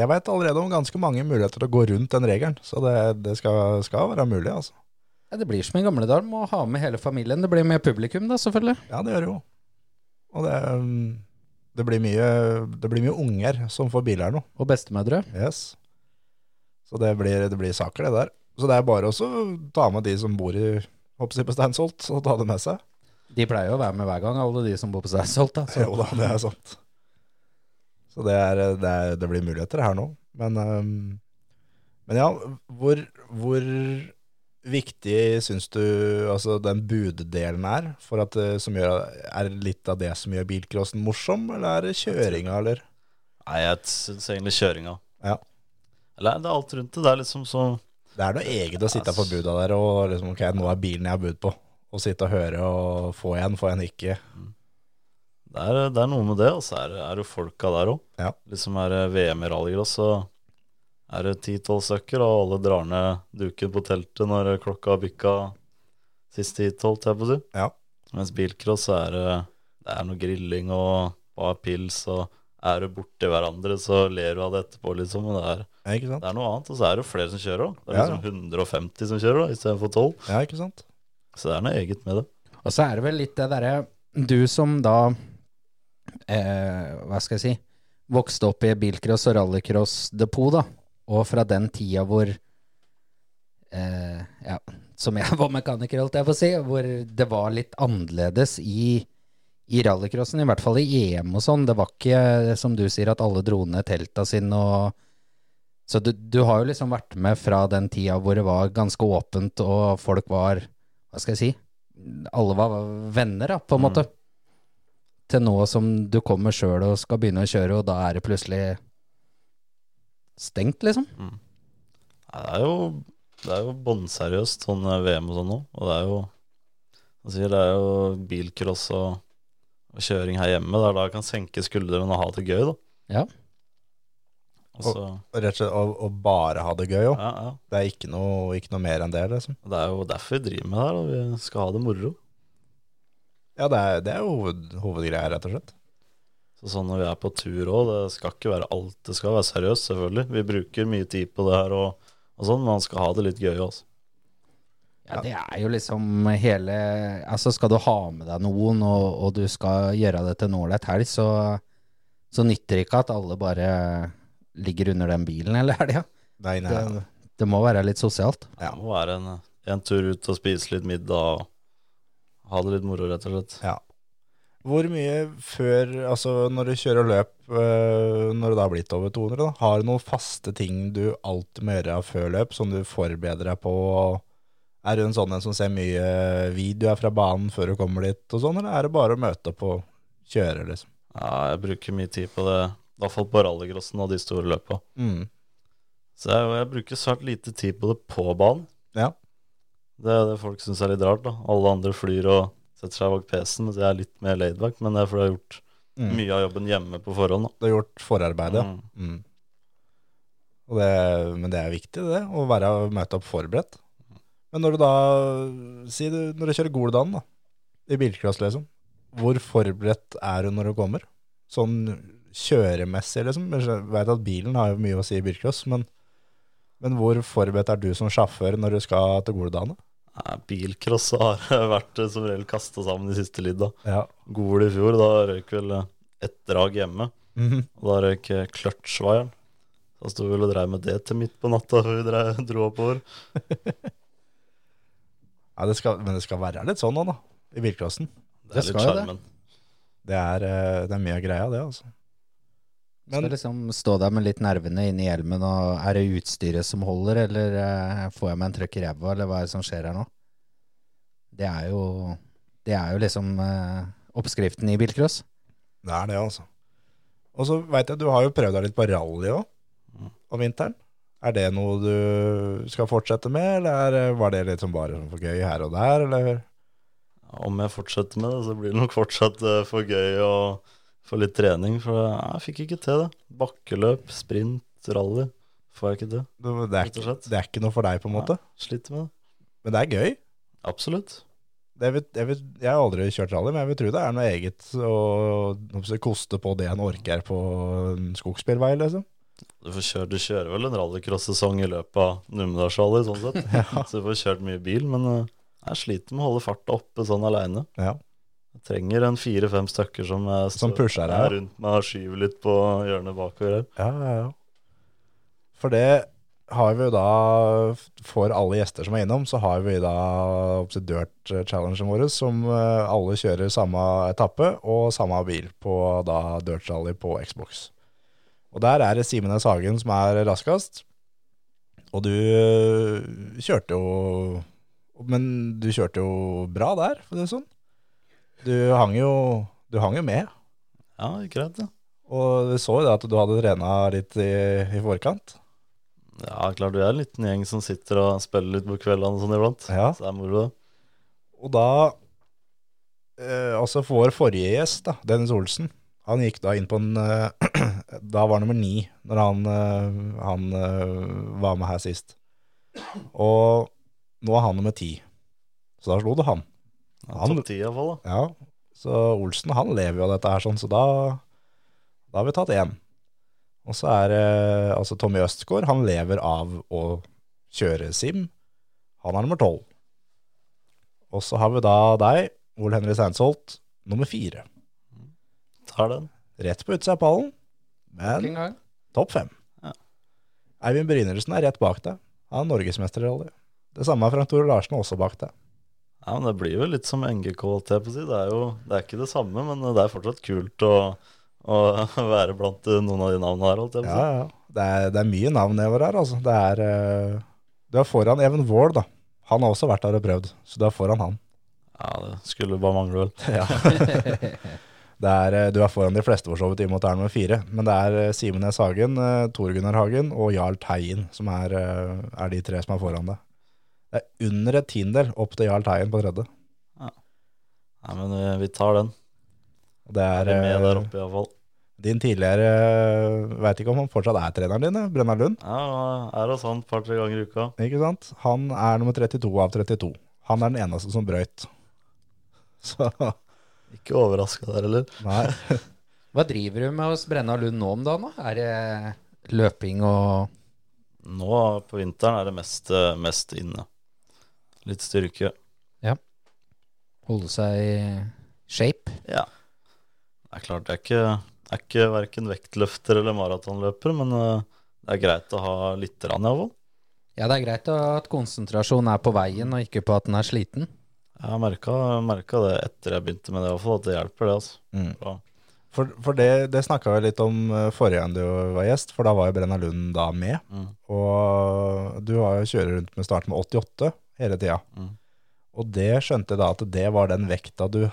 Speaker 3: jeg veit allerede om ganske mange muligheter til å gå rundt den regelen, så det, det skal, skal være mulig, altså.
Speaker 4: Ja, det blir som i gamle dager. Må ha med hele familien. Det blir med publikum, da, selvfølgelig.
Speaker 3: Ja, det gjør det jo. Og det, mm, det, blir mye, det blir mye unger som får biler nå.
Speaker 4: Og bestemødre.
Speaker 3: Yes. Så det blir, det blir saker, det der. Så det er bare også å ta med de som bor i Hoppsi på Steinsholt, og ta det med seg.
Speaker 4: De pleier jo å være med hver gang, alle de som bor på Steinsholt. da, så-
Speaker 3: Jo da, det er sant. Så det, er, det, er, det blir muligheter her nå. Men, ehm, men ja, hvor, hvor viktig syns du altså den buddelen er? For at, eh, som gjør, er det litt av det som gjør bilcrossen morsom, eller er det kjøringa, eller?
Speaker 5: Nei, jeg syns egentlig kjøringa.
Speaker 3: Ja.
Speaker 5: Eller det er alt rundt det. Det er liksom så
Speaker 3: Det er noe eget å sitte på buda der og liksom, ok, nå er bilen jeg har bud på. Og sitte og høre og få en, få en ikke.
Speaker 5: Det er, det er noe med det, og så er, det- er det folka der òg.
Speaker 3: Ja.
Speaker 5: Liksom er det VM i rallycross, så er det ti-tolv stykker, og alle drar ned duken på teltet når klokka har bikka siste ti-tolv, holdt jeg på å si.
Speaker 3: Ja.
Speaker 5: Mens bilcross så er det, det er noe grilling og bare pils, og er du borti hverandre, så ler du av det etterpå, liksom. Og det er,
Speaker 3: Ja, ikke sant?
Speaker 5: det er noe annet, og så er det jo flere som kjører òg. Det er
Speaker 3: Ja,
Speaker 5: liksom 150 som kjører da, istedenfor 12.
Speaker 3: Ja, ikke sant?
Speaker 5: Så det er noe eget med det.
Speaker 4: Og så er det vel litt det derre Du som da eh, Hva skal jeg si Vokste opp i bilcross og rallycross-depot, da. Og fra den tida hvor eh, Ja, som jeg var mekaniker, holdt jeg på å si. Hvor det var litt annerledes i, i rallycrossen. I hvert fall i EM og sånn. Det var ikke, som du sier, at alle dro ned telta sine og Så du, du har jo liksom vært med fra den tida hvor det var ganske åpent, og folk var Hva skal jeg si? alle var venner, da, på en
Speaker 5: Mm.
Speaker 4: måte. Til nå som du kommer sjøl og skal begynne å kjøre, og da er det plutselig stengt, liksom.
Speaker 5: Nei, det er jo, det er jo bånnseriøst, sånn eh, VM og sånn nå. Og det er jo han sier, det er jo bilcross og, og kjøring her hjemme. Det er da jeg kan senke skuldrene og ha det gøy, da.
Speaker 4: Ja.
Speaker 5: Og så,
Speaker 3: Og Rett og slett å- å bare ha det gøy òg.
Speaker 5: ja, ja.
Speaker 3: Det er ikke noe, ikke noe mer enn det, liksom.
Speaker 5: Og Det er jo derfor vi driver med det her. Da. Vi skal ha det moro.
Speaker 3: Ja, det er, det er jo hoved, hovedgreia, rett og slett.
Speaker 5: Så sånn når vi er på tur òg, det skal ikke være alt. Det skal være seriøst, selvfølgelig. Vi bruker mye tid på det her og, og sånn, men man skal ha det litt gøy også.
Speaker 4: Ja, det er jo liksom hele Altså, skal du ha med deg noen, og, og du skal gjøre det til en ålreit helg, så, så nytter det ikke at alle bare ligger under den bilen hele helga.
Speaker 3: Nei, nei,
Speaker 4: Det, det må være litt sosialt.
Speaker 3: Ja.
Speaker 5: Det må være en, en tur ut og spise litt middag og ha det litt moro, rett og slett.
Speaker 3: Ja. Hvor mye før, altså når du kjører løp, øh, når det da har blitt over 200, da, har du noen faste ting du alltid må gjøre før løp, som du forbereder deg på? Er du en sånn en som ser mye videoer fra banen før du kommer dit, og sånn, eller er det bare å møte opp og kjøre, liksom?
Speaker 5: Ja, jeg bruker mye tid på det, i hvert fall på rallycrossen og de store løpa.
Speaker 3: Mm.
Speaker 5: Så jeg, jeg bruker svært lite tid på det på banen.
Speaker 3: Ja.
Speaker 5: Det er det folk syns er litt rart, da. Alle andre flyr og setter seg bak PC-en, mens jeg er litt mer laidback, men det er fordi jeg har gjort
Speaker 3: Mm.
Speaker 5: mye av jobben hjemme på forhånd, da.
Speaker 3: Du har gjort forarbeidet.
Speaker 5: Mm.
Speaker 3: Mm. Og det, men det er viktig, det, å være, møte opp forberedt. Men når du da Si du, når du kjører Goldanen, da, i bilcross, liksom, hvor forberedt er du når du kommer? Sånn kjøremessig, liksom. Jeg vet at bilen har jo mye å si i bilcross, men, men hvor forberedt er du som sjåfør når du skal til Goldanen?
Speaker 5: Nei, Bilcross har vært eh, som regel kasta sammen de siste lidda.
Speaker 3: Ja.
Speaker 5: Gol i fjor, da røyk vel eh, ett drag hjemme.
Speaker 3: Mhm.
Speaker 5: Og da røyk eh, kløtsjvaieren. Så sto vi vel og dreiv med det til midt på natta før vi dreiv, dro oppover.
Speaker 3: ja det skal, men det skal være litt sånn nå, da, i bilcrossen.
Speaker 5: Det
Speaker 4: Det
Speaker 5: er litt
Speaker 4: skal jo det.
Speaker 5: sjarmen.
Speaker 3: Det er, eh, det er mye av greia, det, altså.
Speaker 4: Skal liksom stå der med litt nervene inni hjelmen, og er det utstyret som holder, eller eh, får jeg meg en trøkk i ræva, eller hva er det som skjer her nå? Det er jo Det er jo liksom eh, oppskriften i bilcross.
Speaker 3: Det er det, altså. Og så veit jeg du har jo prøvd deg litt på rally òg, om vinteren. Er det noe du skal fortsette med, eller er, var det litt som bare sånn for gøy her og der, eller?
Speaker 5: Om jeg fortsetter med det, så blir det nok fortsatt eh, for gøy og for litt trening. For eh, jeg- jeg fikk ikke til det. Bakkeløp, sprint, rally får jeg ikke til.
Speaker 3: Det, det, er
Speaker 5: Rett og
Speaker 3: ikke,
Speaker 5: slett.
Speaker 3: det er ikke noe for deg, på en måte.
Speaker 5: Sliter med det.
Speaker 3: Men det er gøy.
Speaker 5: Absolutt.
Speaker 3: Det vil, jeg, vil, jeg har aldri kjørt rally, men jeg vil tro det er noe eget å å koste på det en orker på en skogsbilvei, liksom.
Speaker 5: Du, får kjøre, du kjører vel en rallycross-sesong i løpet av Numedalsrally, sånn sett. Så du får kjørt mye bil, men eh, jeg sliter med å holde farta oppe sånn aleine.
Speaker 3: Ja.
Speaker 5: Jeg trenger en fire-fem stykker som, jeg
Speaker 3: Som
Speaker 5: står-
Speaker 3: pusher deg,
Speaker 5: er
Speaker 3: ja.
Speaker 5: rundt meg og skyver litt på hjørnet bakover her.
Speaker 3: Ja, ja, ja. For det har vi jo da, for alle gjester som er innom, så har vi da oppsett dirt-challengen vår, som eh, alle kjører samme etappe og samme bil på da dirt rally på Xbox. Og der er det Simenes Hagen som er raskest, og du eh, kjørte jo, men du kjørte jo bra der, for å si det sånn. Du hang jo, du hang jo med.
Speaker 5: Ja, greit, det.
Speaker 3: Og vi så jo det at du hadde trena litt i, i forkant.
Speaker 5: Ja, klart vi er en liten gjeng som sitter og spiller litt på kveldene og sånn iblant.
Speaker 3: Ja.
Speaker 5: Så det er moro, det.
Speaker 3: Og da eh, Altså for vår forrige gjest, da, Dennis Olsen, han gikk da inn på en eh, Da var han nummer ni når han, eh, han eh, var med her sist. Og nå er han nummer ti. Så da slo du han.
Speaker 5: Ja,
Speaker 3: Han-
Speaker 5: Topp ti iallfall, da.
Speaker 3: Ja, så Olsen han lever jo av dette her sånn, så da, da har vi tatt én. Og så er det altså Tommy Østgaard, han lever av å kjøre sim. Han er nummer tolv. Og så har vi da deg, Ole Henry Seinsholt, nummer fire.
Speaker 5: Tar den.
Speaker 3: Rett på utsida av pallen, men topp fem.
Speaker 5: Ja.
Speaker 3: Eivind Brynildsen er rett bak deg. Han er norgesmester i rally. Det samme er Frank Tore Larsen også bak deg.
Speaker 5: Ja, men det blir jo litt som NGK, holdt jeg på å si. Det er jo det er ikke det samme, men det er fortsatt kult å, å være blant eh, noen av de navnene her, holdt jeg på
Speaker 3: Ja,
Speaker 5: å si.
Speaker 3: ja. Det er, det er mye navn nedover her, altså. Det er, eh, du er foran Even Wall, da. Han har også vært der og prøvd, så du er foran han.
Speaker 5: Ja, det skulle bare mangle, vel.
Speaker 3: Ja. Det er, eh, du er foran de fleste for så vidt i og med at det er nummer fire, men det er eh, Simen S. Hagen, eh, Tor Gunnar Hagen og Jarl Teien som er, eh, er de tre som er foran deg. Det er under et tiendedel opp til Jarl Teien på tredje.
Speaker 5: Nei, men eh, vi tar den.
Speaker 3: Og Det
Speaker 5: Er
Speaker 3: er,
Speaker 5: vi med
Speaker 3: eh,
Speaker 5: der oppe, iallfall.
Speaker 3: din tidligere Veit ikke om han fortsatt er treneren din, eh, Brennar Lund.
Speaker 5: Ja, er hos han et par-tre ganger i uka.
Speaker 3: Ikke sant? Han er nummer 32 av 32. Han er den eneste som brøyt. Så
Speaker 5: Ikke overraska der heller.
Speaker 3: nei.
Speaker 4: Hva driver du med hos Brenna Lund nå om dagen? da? Er det eh, løping og
Speaker 5: Nå på vinteren er det mest, eh, mest inne. Litt styrke.
Speaker 4: holde seg i shape?
Speaker 5: Ja. Det er klart, jeg er ikke, jeg er ikke verken vektløfter eller maratonløper, men eh, det er greit å ha litt rann, iallfall.
Speaker 4: Ja, det er greit at konsentrasjon er på veien, og ikke på at den er sliten.
Speaker 5: Jeg har merka, merka det etter jeg begynte med det, i hvert fall, at det hjelper, det. altså.
Speaker 3: Mm.
Speaker 5: Bra.
Speaker 3: For, for det, det snakka vi litt om eh, forrige gang du var gjest, for da var jo Brenna Lund da med.
Speaker 5: Mm.
Speaker 3: Og du har jo kjører rundt med start med 88 hele tida.
Speaker 5: Mm.
Speaker 3: Og det skjønte jeg da at det var den vekta du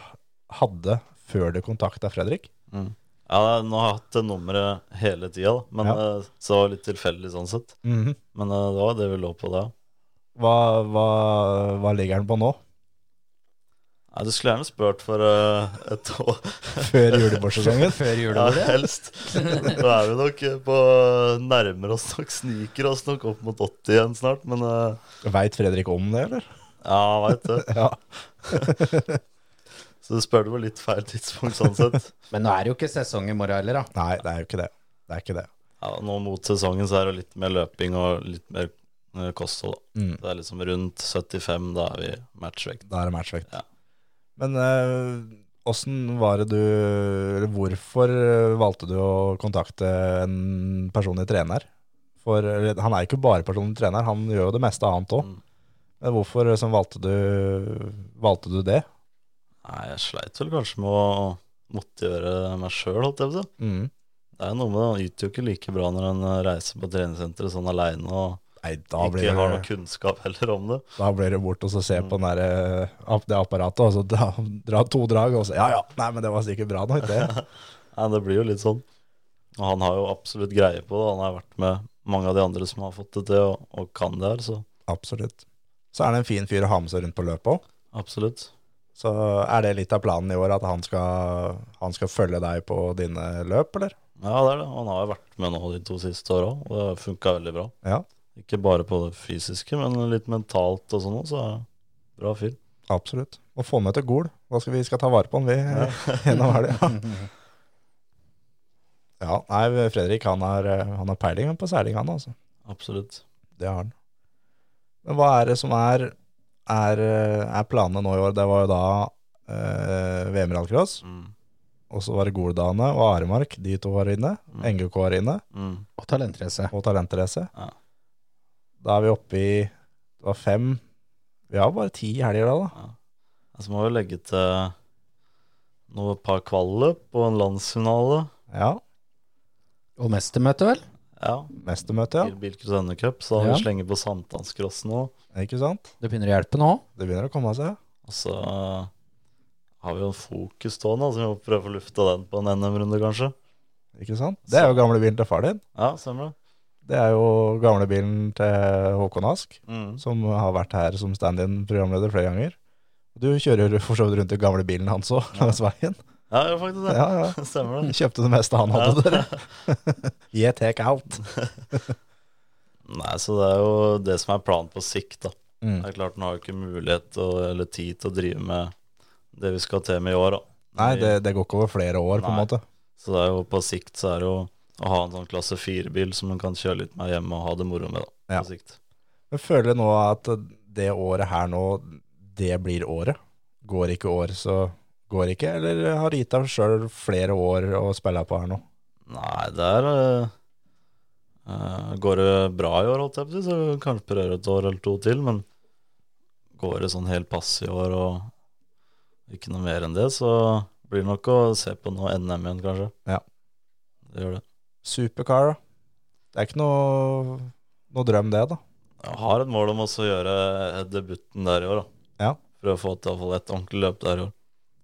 Speaker 3: hadde før du kontakta Fredrik.
Speaker 5: Ja, nå har jeg hatt det nummeret hele tida, da, men
Speaker 3: Ja.
Speaker 5: eh, så det var litt tilfeldig sånn sett. Men eh, det var det vi lå på da.
Speaker 3: Mhm. hva, hva, hva ligger den på nå?
Speaker 5: Nei, du skulle gjerne spurt for eh, et år
Speaker 3: Før julebordsesongen?
Speaker 4: Før
Speaker 5: ja,
Speaker 4: julebordet?
Speaker 5: helst. Nå er vi nok eh, på nærmer oss nok, sniker oss nok opp mot 80 igjen snart, men eh,
Speaker 3: Veit Fredrik om det, eller?
Speaker 5: ja, veit det.
Speaker 3: Ja.
Speaker 5: Så du spør det på litt feil tidspunkt sånn sett.
Speaker 4: Men nå er det jo ikke sesong i morgen heller, da.
Speaker 3: Nei, det er jo ikke det. Det er ikke det.
Speaker 5: Ja, nå mot sesongen så er det litt mer løping og litt mer eh, kosthold. da.
Speaker 3: Mm.
Speaker 5: Det er liksom rundt 75, da er vi matchvekt.
Speaker 3: Da er det matchvekt.
Speaker 5: Ja.
Speaker 3: Men eh, åssen var det du Eller hvorfor eh, valgte du å kontakte en personlig trener? For eller, han er jo ikke bare personlig trener, han gjør jo det meste annet òg.
Speaker 5: Mm.
Speaker 3: Men hvorfor liksom, valgte, du, valgte du det?
Speaker 5: Nei, jeg sleit vel kanskje med å motivere meg sjøl, holdt jeg på å si.
Speaker 3: Mm.
Speaker 5: Det er noe med det, han yter jo ikke like bra når han eh, reiser på treningssenteret sånn aleine og
Speaker 3: Nei, da blir,
Speaker 5: ikke har noe Mm.
Speaker 3: det,
Speaker 5: kunnskap heller om det.
Speaker 3: da blir det bort og så se på den der, eh, app- det apparatet, og så dra, dra to drag, og så Ja ja, nei, men det var sikkert bra nok, det.
Speaker 5: Nei, det blir jo litt sånn. Og han har jo absolutt greie på det. Han har vært med mange av de andre som har fått det til, og, og kan det her, så
Speaker 3: Absolutt. Så er det en fin fyr å ha med seg rundt på løpet òg.
Speaker 5: absolutt.
Speaker 3: Så er det litt av planen i år at han skal, han skal følge deg på dine løp, eller?
Speaker 5: Ja, det er det. Han har jo vært med nå de to siste åra, og det har funka veldig bra.
Speaker 3: Ja,
Speaker 5: Ikke bare på det fysiske, men litt mentalt og sånn òg, så er det bra fyr.
Speaker 3: absolutt. Og få med til Gol. Da skal vi skal ta vare på han, vi. Gjennom helga. Ja, nei, Fredrik han har, han har peiling på seiling, han altså.
Speaker 5: Absolutt.
Speaker 3: Det har han. Men hva er det som er, er, er planene nå i år? Det var jo da eh, VM rallcross,
Speaker 5: Mm.
Speaker 3: og så var det Goldane og Aremark. De to var inne. NGK var inne.
Speaker 5: Mm.
Speaker 4: Og talentrace.
Speaker 3: og talentrace.
Speaker 5: Ja.
Speaker 3: Da er vi oppe i det var fem Vi har bare ti helger da, da.
Speaker 5: Altså, må jo legge til noe par kvalløp og en landsfinale.
Speaker 3: Ja.
Speaker 4: Og mestermøte, bil
Speaker 5: Ja.
Speaker 3: Mestermøte,
Speaker 5: Bil- Bilcross NM-cup, så
Speaker 4: Ja.
Speaker 5: vi slenger på sankthanscrossen òg.
Speaker 3: ja. Ikke sant?
Speaker 4: Det begynner å hjelpe nå.
Speaker 3: Det begynner å komme seg.
Speaker 5: Og så eh, har vi jo en fokus stående, så vi må prøve å lufte den på en NM-runde, kanskje.
Speaker 3: Ikke sant? Det er jo gamlebilen til far din.
Speaker 5: Ja, stemmer det.
Speaker 3: Det er jo gamlebilen til Håkon Ask,
Speaker 5: Mm.
Speaker 3: som har vært her som stand-in-programleder flere ganger. Du kjører jo for så vidt rundt i gamlebilen hans òg, langs veien.
Speaker 5: Ja, jeg gjør faktisk det.
Speaker 3: Ja, ja.
Speaker 5: Stemmer det.
Speaker 3: Kjøpte det meste han hadde der. Yeah, take out.
Speaker 5: Nei, så det er jo det som er planen på sikt, da.
Speaker 3: Mm.
Speaker 5: Det er klart, nå har vi ikke mulighet og, eller tid til å drive med det vi skal til med i år, da.
Speaker 3: Nei, det, det går ikke over flere år, på en
Speaker 5: Nei.
Speaker 3: måte.
Speaker 5: Så det er jo på sikt så er det jo å ha en sånn klasse 4-bil som man kan kjøre litt med hjemme og ha det moro med, da.
Speaker 3: Ja.
Speaker 5: På sikt.
Speaker 3: Jeg føler nå at det året her nå, det blir året. Går ikke år, så går ikke. Eller har gitt deg sjøl flere år å spille på her nå?
Speaker 5: Nei, der eh, eh, går det bra i år, holdt jeg på å si, så kanskje prøver et år eller to til, men går det sånn helt pass i år og ikke noe mer enn det, så blir det nok å se på noe NM igjen, kanskje.
Speaker 3: Ja.
Speaker 5: Det gjør det.
Speaker 3: Supercar, da. Det er ikke noe, noe drøm, det, da.
Speaker 5: Jeg har et mål om også å gjøre debuten der i år, da.
Speaker 3: Ja.
Speaker 5: Prøve å få til iallfall ett ordentlig løp der i år.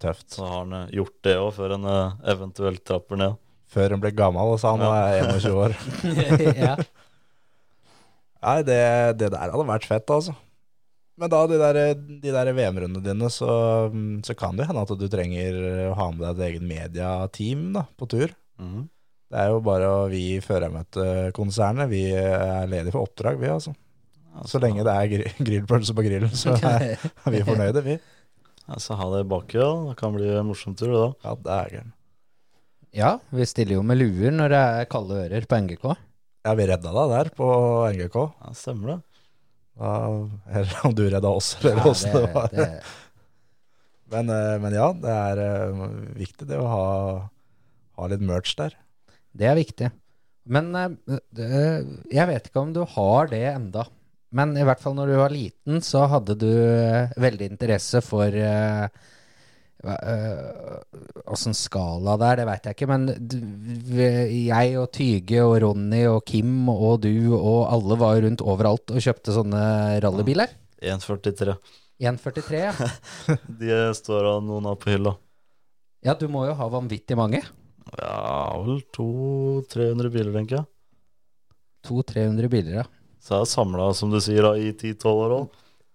Speaker 3: tøft.
Speaker 5: Så har han eh, gjort det òg, før han eh, eventuelt trapper ned.
Speaker 3: Før hun ble gammel, så han er 21 år.
Speaker 4: ja.
Speaker 3: Nei, det, det der hadde vært fett, altså. Men da, de der, de der VM-rundene dine, så, så kan det jo hende at du trenger å ha med deg et eget mediateam da, på tur.
Speaker 5: Mhm.
Speaker 3: Det er jo bare å- vi i Førermøtekonsernet, vi eh, er ledige for oppdrag, vi, altså. Så lenge det er gri- grillpølse på grillen, så er
Speaker 4: eh,
Speaker 3: vi fornøyde, vi.
Speaker 5: Ja, så ha det i bakhjulet. da. Det kan bli en morsom tur, det da.
Speaker 3: Ja, det er gøy.
Speaker 4: ja, vi stiller jo med luer når det er kalde ører på NGK.
Speaker 3: Ja, vi redda deg der på NGK.
Speaker 5: Ja, stemmer det.
Speaker 3: Ja, eller om du redda oss, eller
Speaker 4: Ja,
Speaker 3: hvordan det var.
Speaker 4: det-
Speaker 3: Men, eh, men ja, det er eh, viktig det å ha, ha litt merch der.
Speaker 4: Det er viktig. Men eh, det- jeg vet ikke om du har det enda. Men i hvert fall når du var liten, så hadde du eh, veldig interesse for eh, hva- eh, Åssen skala det er, det veit jeg ikke. Men du, vi- jeg og Tyge og Ronny og Kim og du og alle var rundt overalt og kjøpte sånne rallybiler.
Speaker 5: 1,43.
Speaker 4: 1,43. ja.
Speaker 5: De står av noen av på hylla.
Speaker 4: Ja, du må jo ha vanvittig mange.
Speaker 5: Ja, vel 200-300 biler, tenker jeg.
Speaker 4: 200-300 biler, ja.
Speaker 5: Så jeg er samla, som du sier, da, i 10-12 år òg.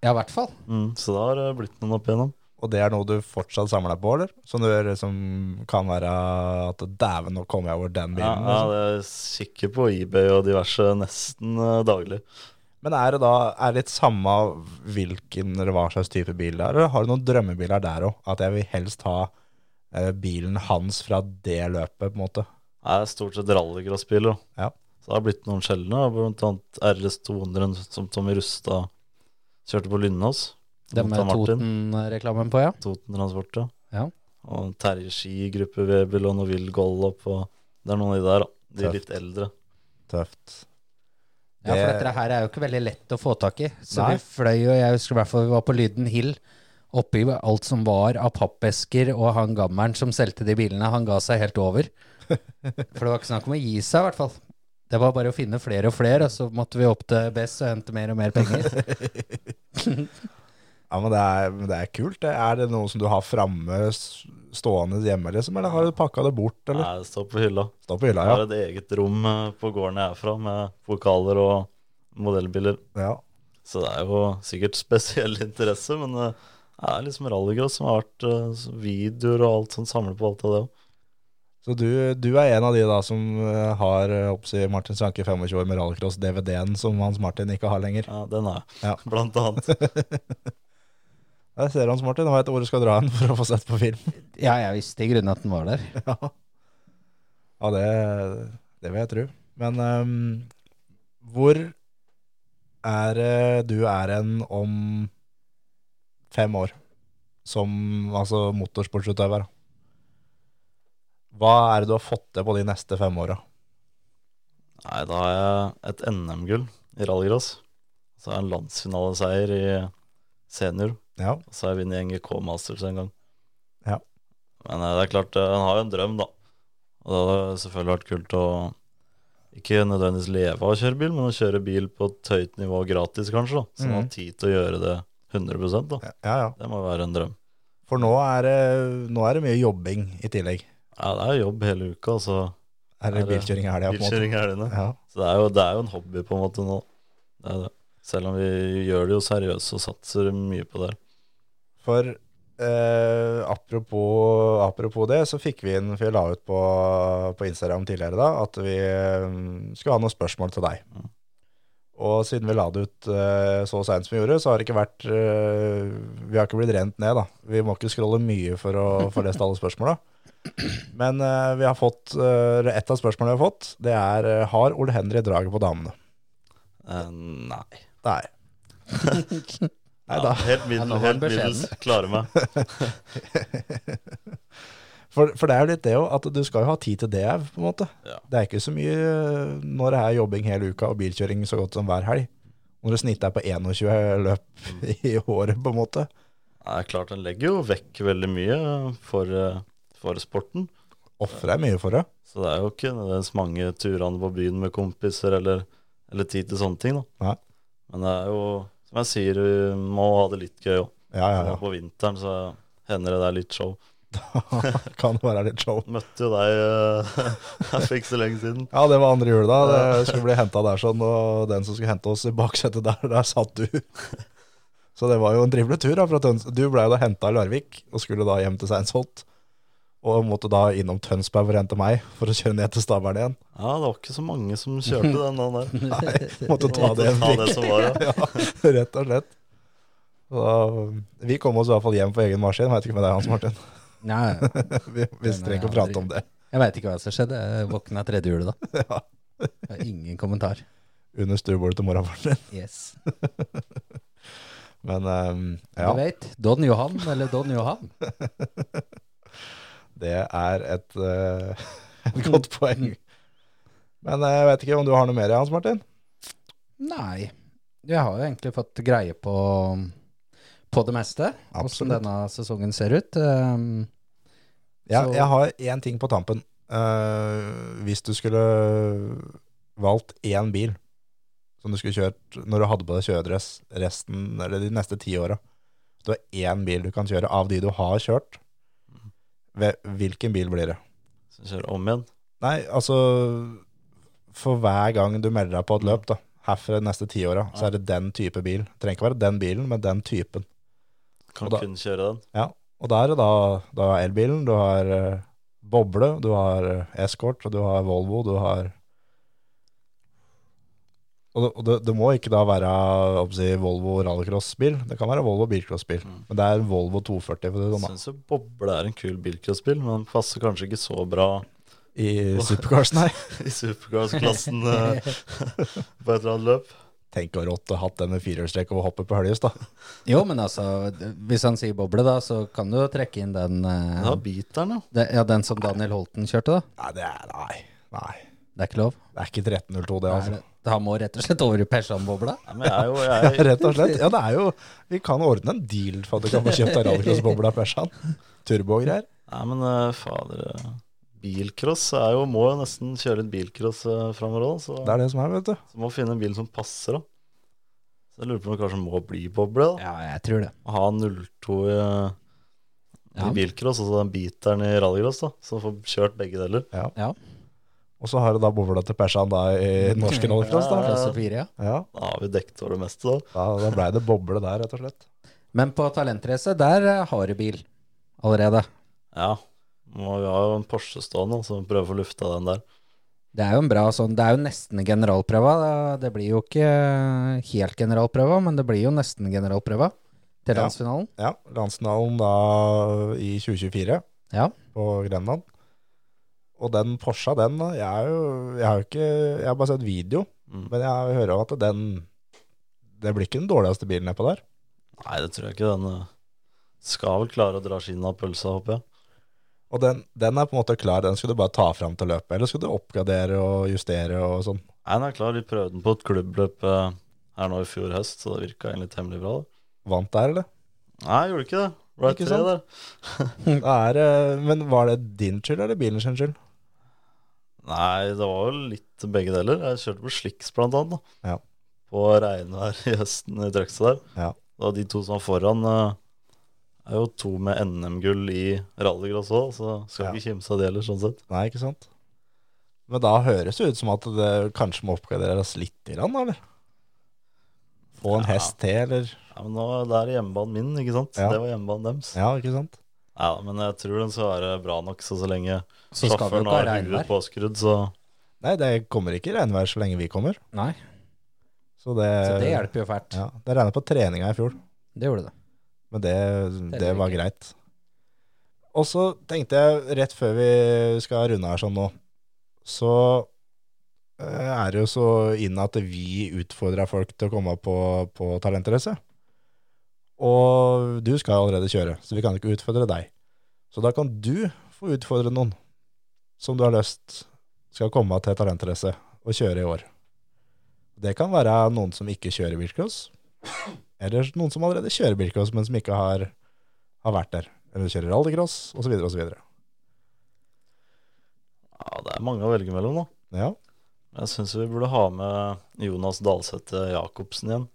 Speaker 4: Ja, i hvert fall.
Speaker 5: Mm, så det har eh, blitt noen opp igjennom.
Speaker 3: Og det er noe du fortsatt samler deg på, eller? Som, du, som kan være at dæven, nå kommer jeg over den
Speaker 5: Ja,
Speaker 3: bilen.
Speaker 5: ja,
Speaker 3: liksom.
Speaker 5: det er kikker på eBay og diverse nesten eh, daglig.
Speaker 3: Men er det da er det litt samme hvilken eller hva slags type bil det er? Eller har du noen drømmebiler der òg? At jeg vil helst ha eh, bilen hans fra det løpet, på en måte.
Speaker 5: Det er stort sett rallycrossbiler. da.
Speaker 3: Ja.
Speaker 5: Så det har blitt noen sjeldne, da. blant annet RS 200 som Tommy Rustad kjørte på Lynås.
Speaker 4: Det med
Speaker 5: Mot han Martin.
Speaker 4: Toten-reklamen på, ja.
Speaker 5: Toten Transport, ja.
Speaker 4: Ja.
Speaker 5: Og Terje Ski, Gruppe Webelon og Will Gollop og Det er noen av de der, da. De
Speaker 3: Tøft.
Speaker 5: litt eldre.
Speaker 3: Tøft.
Speaker 4: Ja, for
Speaker 3: Det-
Speaker 4: dette her er jo ikke veldig lett å få tak i. Så
Speaker 3: Nei.
Speaker 4: vi fløy, og jeg husker i hvert fall vi var på Lyden Hill, oppi alt som var av pappesker, og han gammelen som solgte de bilene, han ga seg helt over. For det var ikke snakk om å gi seg, i hvert fall. Det var bare å finne flere og flere, og så måtte vi opp til BESS og hente mer og mer penger.
Speaker 3: Ja, men det er, men det er kult. det. Er det noe som du har framme s- stående hjemme, liksom? Eller har du pakka det bort,
Speaker 5: Nei,
Speaker 3: eller?
Speaker 5: det står på hylla.
Speaker 3: Stå på hylla,
Speaker 5: Jeg
Speaker 3: ja.
Speaker 5: har et eget rom eh, på gården jeg er fra, med pokaler og modellbiler.
Speaker 3: ja.
Speaker 5: Så det er jo sikkert spesiell interesse, men eh, det er liksom rallycross som har vært eh, videoer og alt sånn, samler på alt av det òg.
Speaker 3: Så du, du er en av de da som eh, har eh, oppsi Martin Sanke 25 år med rallycross-DVD-en som Hans Martin ikke har lenger.
Speaker 5: Ja, den er jeg,
Speaker 3: Ja.
Speaker 5: blant annet.
Speaker 3: Jeg ser Hans Martin, nå vet jeg hvor du skal dra den for å få sett på film.
Speaker 4: Ja, jeg visste i grunnen at den var der.
Speaker 3: ja, ja det, det vil jeg tro. Men ehm, hvor er det du er en om fem år? Som altså motorsportsutøver. da? Hva er det du har fått til på de neste fem åra?
Speaker 5: Nei, da har jeg et NM-gull i rallycross. Så har jeg en landsfinaleseier i senior.
Speaker 3: Ja.
Speaker 5: Og så har jeg vunnet NGK Masters en gang.
Speaker 3: Ja.
Speaker 5: Men eh, det er klart, eh, en har jo en drøm, da. Og det hadde selvfølgelig vært kult å ikke nødvendigvis leve av å kjøre bil, men å kjøre bil på et høyt nivå gratis, kanskje. da. Så man
Speaker 3: Mhm.
Speaker 5: har tid til å gjøre det 100 da.
Speaker 3: ja, ja.
Speaker 5: Det må være en drøm.
Speaker 3: For nå er, det, nå er det mye jobbing i tillegg.
Speaker 5: Ja, det er jobb hele uka, altså.
Speaker 3: Er det
Speaker 5: Er det
Speaker 3: bilkjøring i helga, på en måte?
Speaker 5: Bilkjøring i helgene.
Speaker 3: Ja.
Speaker 5: Så det er, jo, det er jo en hobby på en måte nå. Det er det. Selv om vi gjør det jo seriøst og satser mye på det. her.
Speaker 3: For eh, apropos, apropos det, så fikk vi inn, for jeg la ut på, på Instagram tidligere da, at vi eh, skulle ha noen spørsmål til deg.
Speaker 5: Mm.
Speaker 3: Og siden vi la det ut eh, så seint som vi gjorde, så har det ikke vært eh, Vi har ikke blitt rent ned, da. Vi må ikke scrolle mye for å få lest alle spørsmåla. Men eh, vi har fått eh, et av spørsmålene vi har fått, det er eh, Har Ole Henry draget på damene?
Speaker 5: Eh, nei.
Speaker 3: Nei. Nei da.
Speaker 5: Ja, helt middel,
Speaker 4: Ja, nå var
Speaker 5: helt
Speaker 4: den
Speaker 5: middels klarer meg.
Speaker 3: For, for det er jo litt det jo, at du skal jo ha tid til det, på en måte.
Speaker 5: Ja.
Speaker 3: Det er ikke så mye øh, når det er jobbing hele uka og bilkjøring så godt som hver helg. Når du snitter deg på 21 løp i året, på en måte.
Speaker 5: Det er klart, den legger jo vekk veldig mye for, eh, for sporten.
Speaker 3: Ofrer deg mye for det.
Speaker 5: Så det er jo ikke nødvendigvis mange turene på byen med kompiser eller, eller tid til sånne ting. da.
Speaker 3: Nei.
Speaker 5: Men det er jo, som jeg sier, vi må ha det litt gøy òg.
Speaker 3: Ja, ja, ja.
Speaker 5: På vinteren så hender det det er litt show.
Speaker 3: kan det være litt show.
Speaker 5: Møtte jo deg eh, her for ikke så lenge siden.
Speaker 3: Ja, det var andre jul, da. Det skulle bli henta der sånn, og den som skulle hente oss i baksetet der, der satt du. Så det var jo en trivelig tur. da, fra Tøns Du ble jo da henta i Larvik og skulle da hjem til Seinsholt. Og måtte da innom Tønsberg for å hente meg, for å kjøre ned til Stabern igjen.
Speaker 5: Ja, det var ikke så mange som kjørte den dagen der.
Speaker 3: Måtte ta det en
Speaker 5: Ta
Speaker 3: prikk.
Speaker 5: det som var, ja.
Speaker 3: Ja, rett og slett. Så, da- vi kom oss i hvert fall hjem på egen maskin. Veit ikke med deg, Hans Martin.
Speaker 4: Nei,
Speaker 3: Vi, vi trenger ikke å prate om det.
Speaker 4: jeg veit ikke hva som skjedde. Jeg våkna tredje hjulet da.
Speaker 3: Ja.
Speaker 4: Det er Ingen kommentar.
Speaker 3: Under stuebordet til moraparen din.
Speaker 4: Yes.
Speaker 3: Men ehm,
Speaker 4: Du
Speaker 3: ja,
Speaker 4: vet, Don Johan eller Don Johan.
Speaker 3: det er et, eh, et godt poeng. Men eh, jeg vet ikke om du har noe mer, Hans Martin?
Speaker 4: Nei, jeg har jo egentlig fått greie på, på det meste. Hvordan
Speaker 3: Absolutt.
Speaker 4: denne sesongen ser ut. Um,
Speaker 3: Jeg,
Speaker 4: Så-
Speaker 3: jeg har én ting på tampen. Eh, hvis du skulle valgt én bil som du skulle kjørt når du hadde på deg kjøredress resten, eller de neste ti åra Du har én bil du kan kjøre av de du har kjørt. Hve- Hvilken bil blir det?
Speaker 5: Så kjører om igjen.
Speaker 3: Nei, altså For hver gang du melder deg på et løp, da herfra de neste ti åra, så er det den type bil. Det trenger ikke være den bilen, men den typen. Og
Speaker 5: Kan
Speaker 3: da-
Speaker 5: kun kjøre den.
Speaker 3: Og da er det da, da er elbilen, du har eh, boble, du har eh, Escort, og du har Volvo, du har Og det, og det, det må ikke da være hva skal jeg si, Volvo rallycross-bil, det kan være Volvo bilcross-bil.
Speaker 5: Mm.
Speaker 3: Men det er en Volvo 240 for å si det sånn, da.
Speaker 5: Syns jo Boble er en kul bilcrossbil, men den passer kanskje ikke så bra
Speaker 3: i supercars, nei.
Speaker 5: i supercross-klassen eh, på et eller annet løp.
Speaker 3: Tenk å rått å hatt den med firehjulstrekk og hoppe på høljus, da.
Speaker 4: Jo, men altså, d- hvis han sier boble, da, så kan du jo trekke inn den eh,
Speaker 5: Ja, biteren, ja.
Speaker 4: de- ja, den som Daniel Holten kjørte, da.
Speaker 3: Nei, det er Nei. nei.
Speaker 4: Det er ikke lov.
Speaker 3: Det er ikke 1302, det, altså.
Speaker 4: Nei, det- Han må rett og slett over i Persan-bobla.
Speaker 5: Nei, Men jeg er jo jeg,
Speaker 3: Rett og slett. Ja, det er jo Vi kan ordne en deal for at du kan få kjøpt deg rallycrossbobla persan. Turbo og greier.
Speaker 5: Nei, men eh, fader eh, Bilcross er jo, må jo nesten kjøre litt bilcross eh, framover òg, så,
Speaker 3: Det er det som er, vet du.
Speaker 5: så må finne en bil som passer, da. Så jeg lurer på om det kanskje må bli boble. da.
Speaker 4: Ja, jeg tror det.
Speaker 5: Ha 02 i, eh,
Speaker 4: Ja.
Speaker 5: i bilcross, og så den biteren i rallycross, da. Så får kjørt begge deler.
Speaker 4: Ja.
Speaker 3: Og så har du da bobla til persan da i norske rallycross, da.
Speaker 4: Klasse altså. fire, ja.
Speaker 3: Ja,
Speaker 5: Da har vi dekket over det meste, da.
Speaker 3: da, da blei det boble der, rett og slett.
Speaker 4: Men på talentrace, der eh, har du bil allerede.
Speaker 5: Ja. Må vi har jo en Porsche stående, så vi prøver å få lufta den der.
Speaker 4: Det er jo en bra sånn Det er jo nesten generalprøva. Det- Det blir jo ikke eh, helt generalprøva, men det blir jo nesten generalprøva til
Speaker 3: Ja.
Speaker 4: landsfinalen.
Speaker 3: Ja, landsfinalen da i 2024
Speaker 4: Ja.
Speaker 3: på Grenland. Og den Porscha, den da, jeg er jo Jeg har jo ikke Jeg har bare sett video,
Speaker 5: Mm.
Speaker 3: men jeg hører jo at den Det blir ikke den dårligste bilen nedpå der.
Speaker 5: Nei, det tror jeg ikke. Den eh, skal vel klare å dra skinnet av pølsa, håper jeg.
Speaker 3: Og den, den er på en måte klar, den skulle du bare ta fram til løpet, eller skulle du oppgradere og justere og sånn?
Speaker 5: Nei, den er klar. Vi prøvde den på et klubbløp eh, her nå i fjor høst, så det virka egentlig temmelig bra. da.
Speaker 3: Vant der, eller?
Speaker 5: Nei, gjorde ikke det. Right
Speaker 3: Ikke
Speaker 5: ikke
Speaker 3: sant?
Speaker 5: der.
Speaker 3: Det er, eh, men var det din skyld, eller bilen sin skyld?
Speaker 5: Nei, det var jo litt begge deler. Jeg kjørte på slicks blant annet. da.
Speaker 3: Ja.
Speaker 5: På regnvær i høsten i Trøgstad der.
Speaker 3: Ja.
Speaker 5: Da de to som var foran, eh, er jo to med NM-gull i rallycross òg, så skal
Speaker 3: Ja.
Speaker 5: ikke kimse av det heller, sånn sett.
Speaker 3: Nei, ikke sant? Men da høres det ut som at det kanskje må oppgraderes litt i land, eller? Få en
Speaker 5: Ja.
Speaker 3: hest til, eller?
Speaker 5: Ja, men nå, det er hjemmebanen min, ikke sant?
Speaker 3: Ja.
Speaker 5: Det var hjemmebanen deres. Ja.
Speaker 3: Ja, ikke sant?
Speaker 5: men jeg tror den skal være bra nok, så så lenge
Speaker 4: Så skal vi jo
Speaker 5: sjåføren
Speaker 4: ikke ha
Speaker 5: har
Speaker 4: regnvær.
Speaker 5: huet påskrudd, så
Speaker 3: Nei, det kommer ikke regnvær så lenge vi kommer.
Speaker 4: Nei,
Speaker 3: Så det,
Speaker 4: så det hjelper jo fælt.
Speaker 3: Eh, Ja, det regnet på treninga i fjor,
Speaker 4: Det gjorde det.
Speaker 3: men det, det
Speaker 4: Teller
Speaker 3: var
Speaker 4: ikke.
Speaker 3: greit. Og så tenkte jeg, rett før vi skal runde her sånn nå, så eh, er det jo så inn at vi utfordrer folk til å komme på, på talentrace. Og du skal allerede kjøre, så vi kan ikke utfordre deg. Så da kan du få utfordre noen som du har lyst skal komme til talentrace og kjøre i år. Det kan være noen som ikke kjører bilcross, eller noen som allerede kjører bilcross, men som ikke har, har vært der. Eller kjører rallycross, osv. osv.
Speaker 5: ja, det er mange å velge mellom, da.
Speaker 3: Ja,
Speaker 5: Jeg syns vi burde ha med Jonas Dalseth Jacobsen igjen,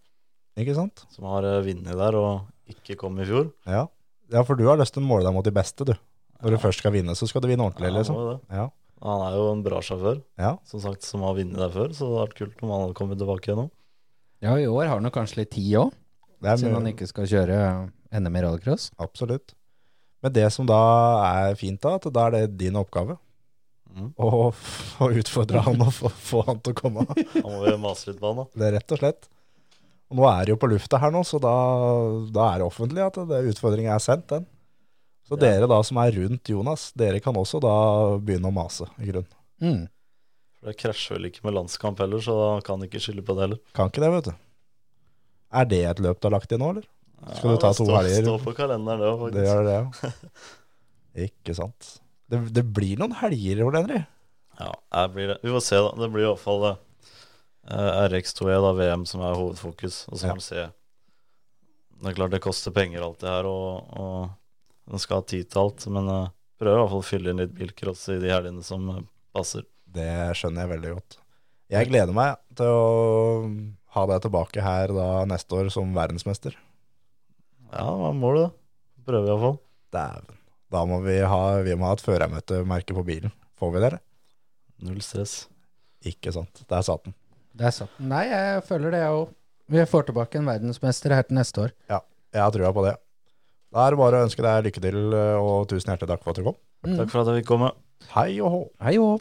Speaker 3: ikke sant?
Speaker 5: som har eh, vunnet der og ikke kom i fjor.
Speaker 3: Ja. ja, for du har lyst til å måle deg mot de beste, du. Når du først skal vinne, så skal du vinne ordentlig,
Speaker 5: Ja,
Speaker 3: liksom.
Speaker 5: må jo det.
Speaker 3: Ja,
Speaker 5: Han er jo en bra sjåfør,
Speaker 3: ja.
Speaker 5: som sagt, som har vunnet der før. Så det hadde vært kult om han hadde kommet tilbake igjen nå.
Speaker 4: Ja, i år har han jo kanskje litt tid òg,
Speaker 3: Det er
Speaker 4: siden
Speaker 3: mye-
Speaker 4: han ikke skal kjøre eh, NM i rallycross.
Speaker 3: Absolutt. Men det som da er fint, da, at da er det din oppgave
Speaker 5: Mhm.
Speaker 3: å, f- å utfordre han og få, få han til å komme. Det
Speaker 5: Han må vi mase litt på han, da.
Speaker 3: er rett og slett. Og nå er det jo på lufta her nå, så da, da er det offentlig at det utfordringa er sendt, den. Så dere da som er rundt Jonas, dere kan også da begynne å mase, i grunnen.
Speaker 4: Mm.
Speaker 5: For det krasjer vel ikke med landskamp heller, så han kan ikke skylde på det heller.
Speaker 3: Kan ikke det, vet du. Er det et løp du har lagt inn nå, eller? Skal du ta
Speaker 5: det
Speaker 3: to
Speaker 5: står-
Speaker 3: helger?
Speaker 5: Står på kalenderen, det òg,
Speaker 3: Det
Speaker 5: faktisk.
Speaker 3: gjør det, ja. Ikke sant. Det, det blir noen helger, Ole Henry.
Speaker 5: Ja, her blir det. Vi får se, da. Det blir iallfall uh, eh, RX2E, E, da, VM, som er hovedfokus. Og så
Speaker 3: Ja.
Speaker 5: får vi se. Det er klart det koster penger, alt det her, og, og en skal ha tid til alt. Men eh, prøver i hvert fall å fylle inn litt bilcross i de helgene som eh, passer.
Speaker 3: Det skjønner jeg veldig godt. Jeg gleder meg til å ha deg tilbake her da neste år som verdensmester.
Speaker 5: Ja, hva er målet, da? Prøver iallfall.
Speaker 3: Dæven. Da må vi ha, vi må ha et førermøtemerke på bilen. Får vi det, eller?
Speaker 5: Null stress.
Speaker 3: Ikke sant. Der satt den.
Speaker 4: Det er sant. Nei, jeg føler det, jeg òg. Vi får tilbake en verdensmester her til neste år.
Speaker 3: Ja, jeg har trua på det. Da er det bare å eh, ønske deg lykke til, og tusen hjertelig takk for at du kom.
Speaker 5: Takk for at jeg fikk komme.
Speaker 3: Hei og hå.
Speaker 4: Hei jo.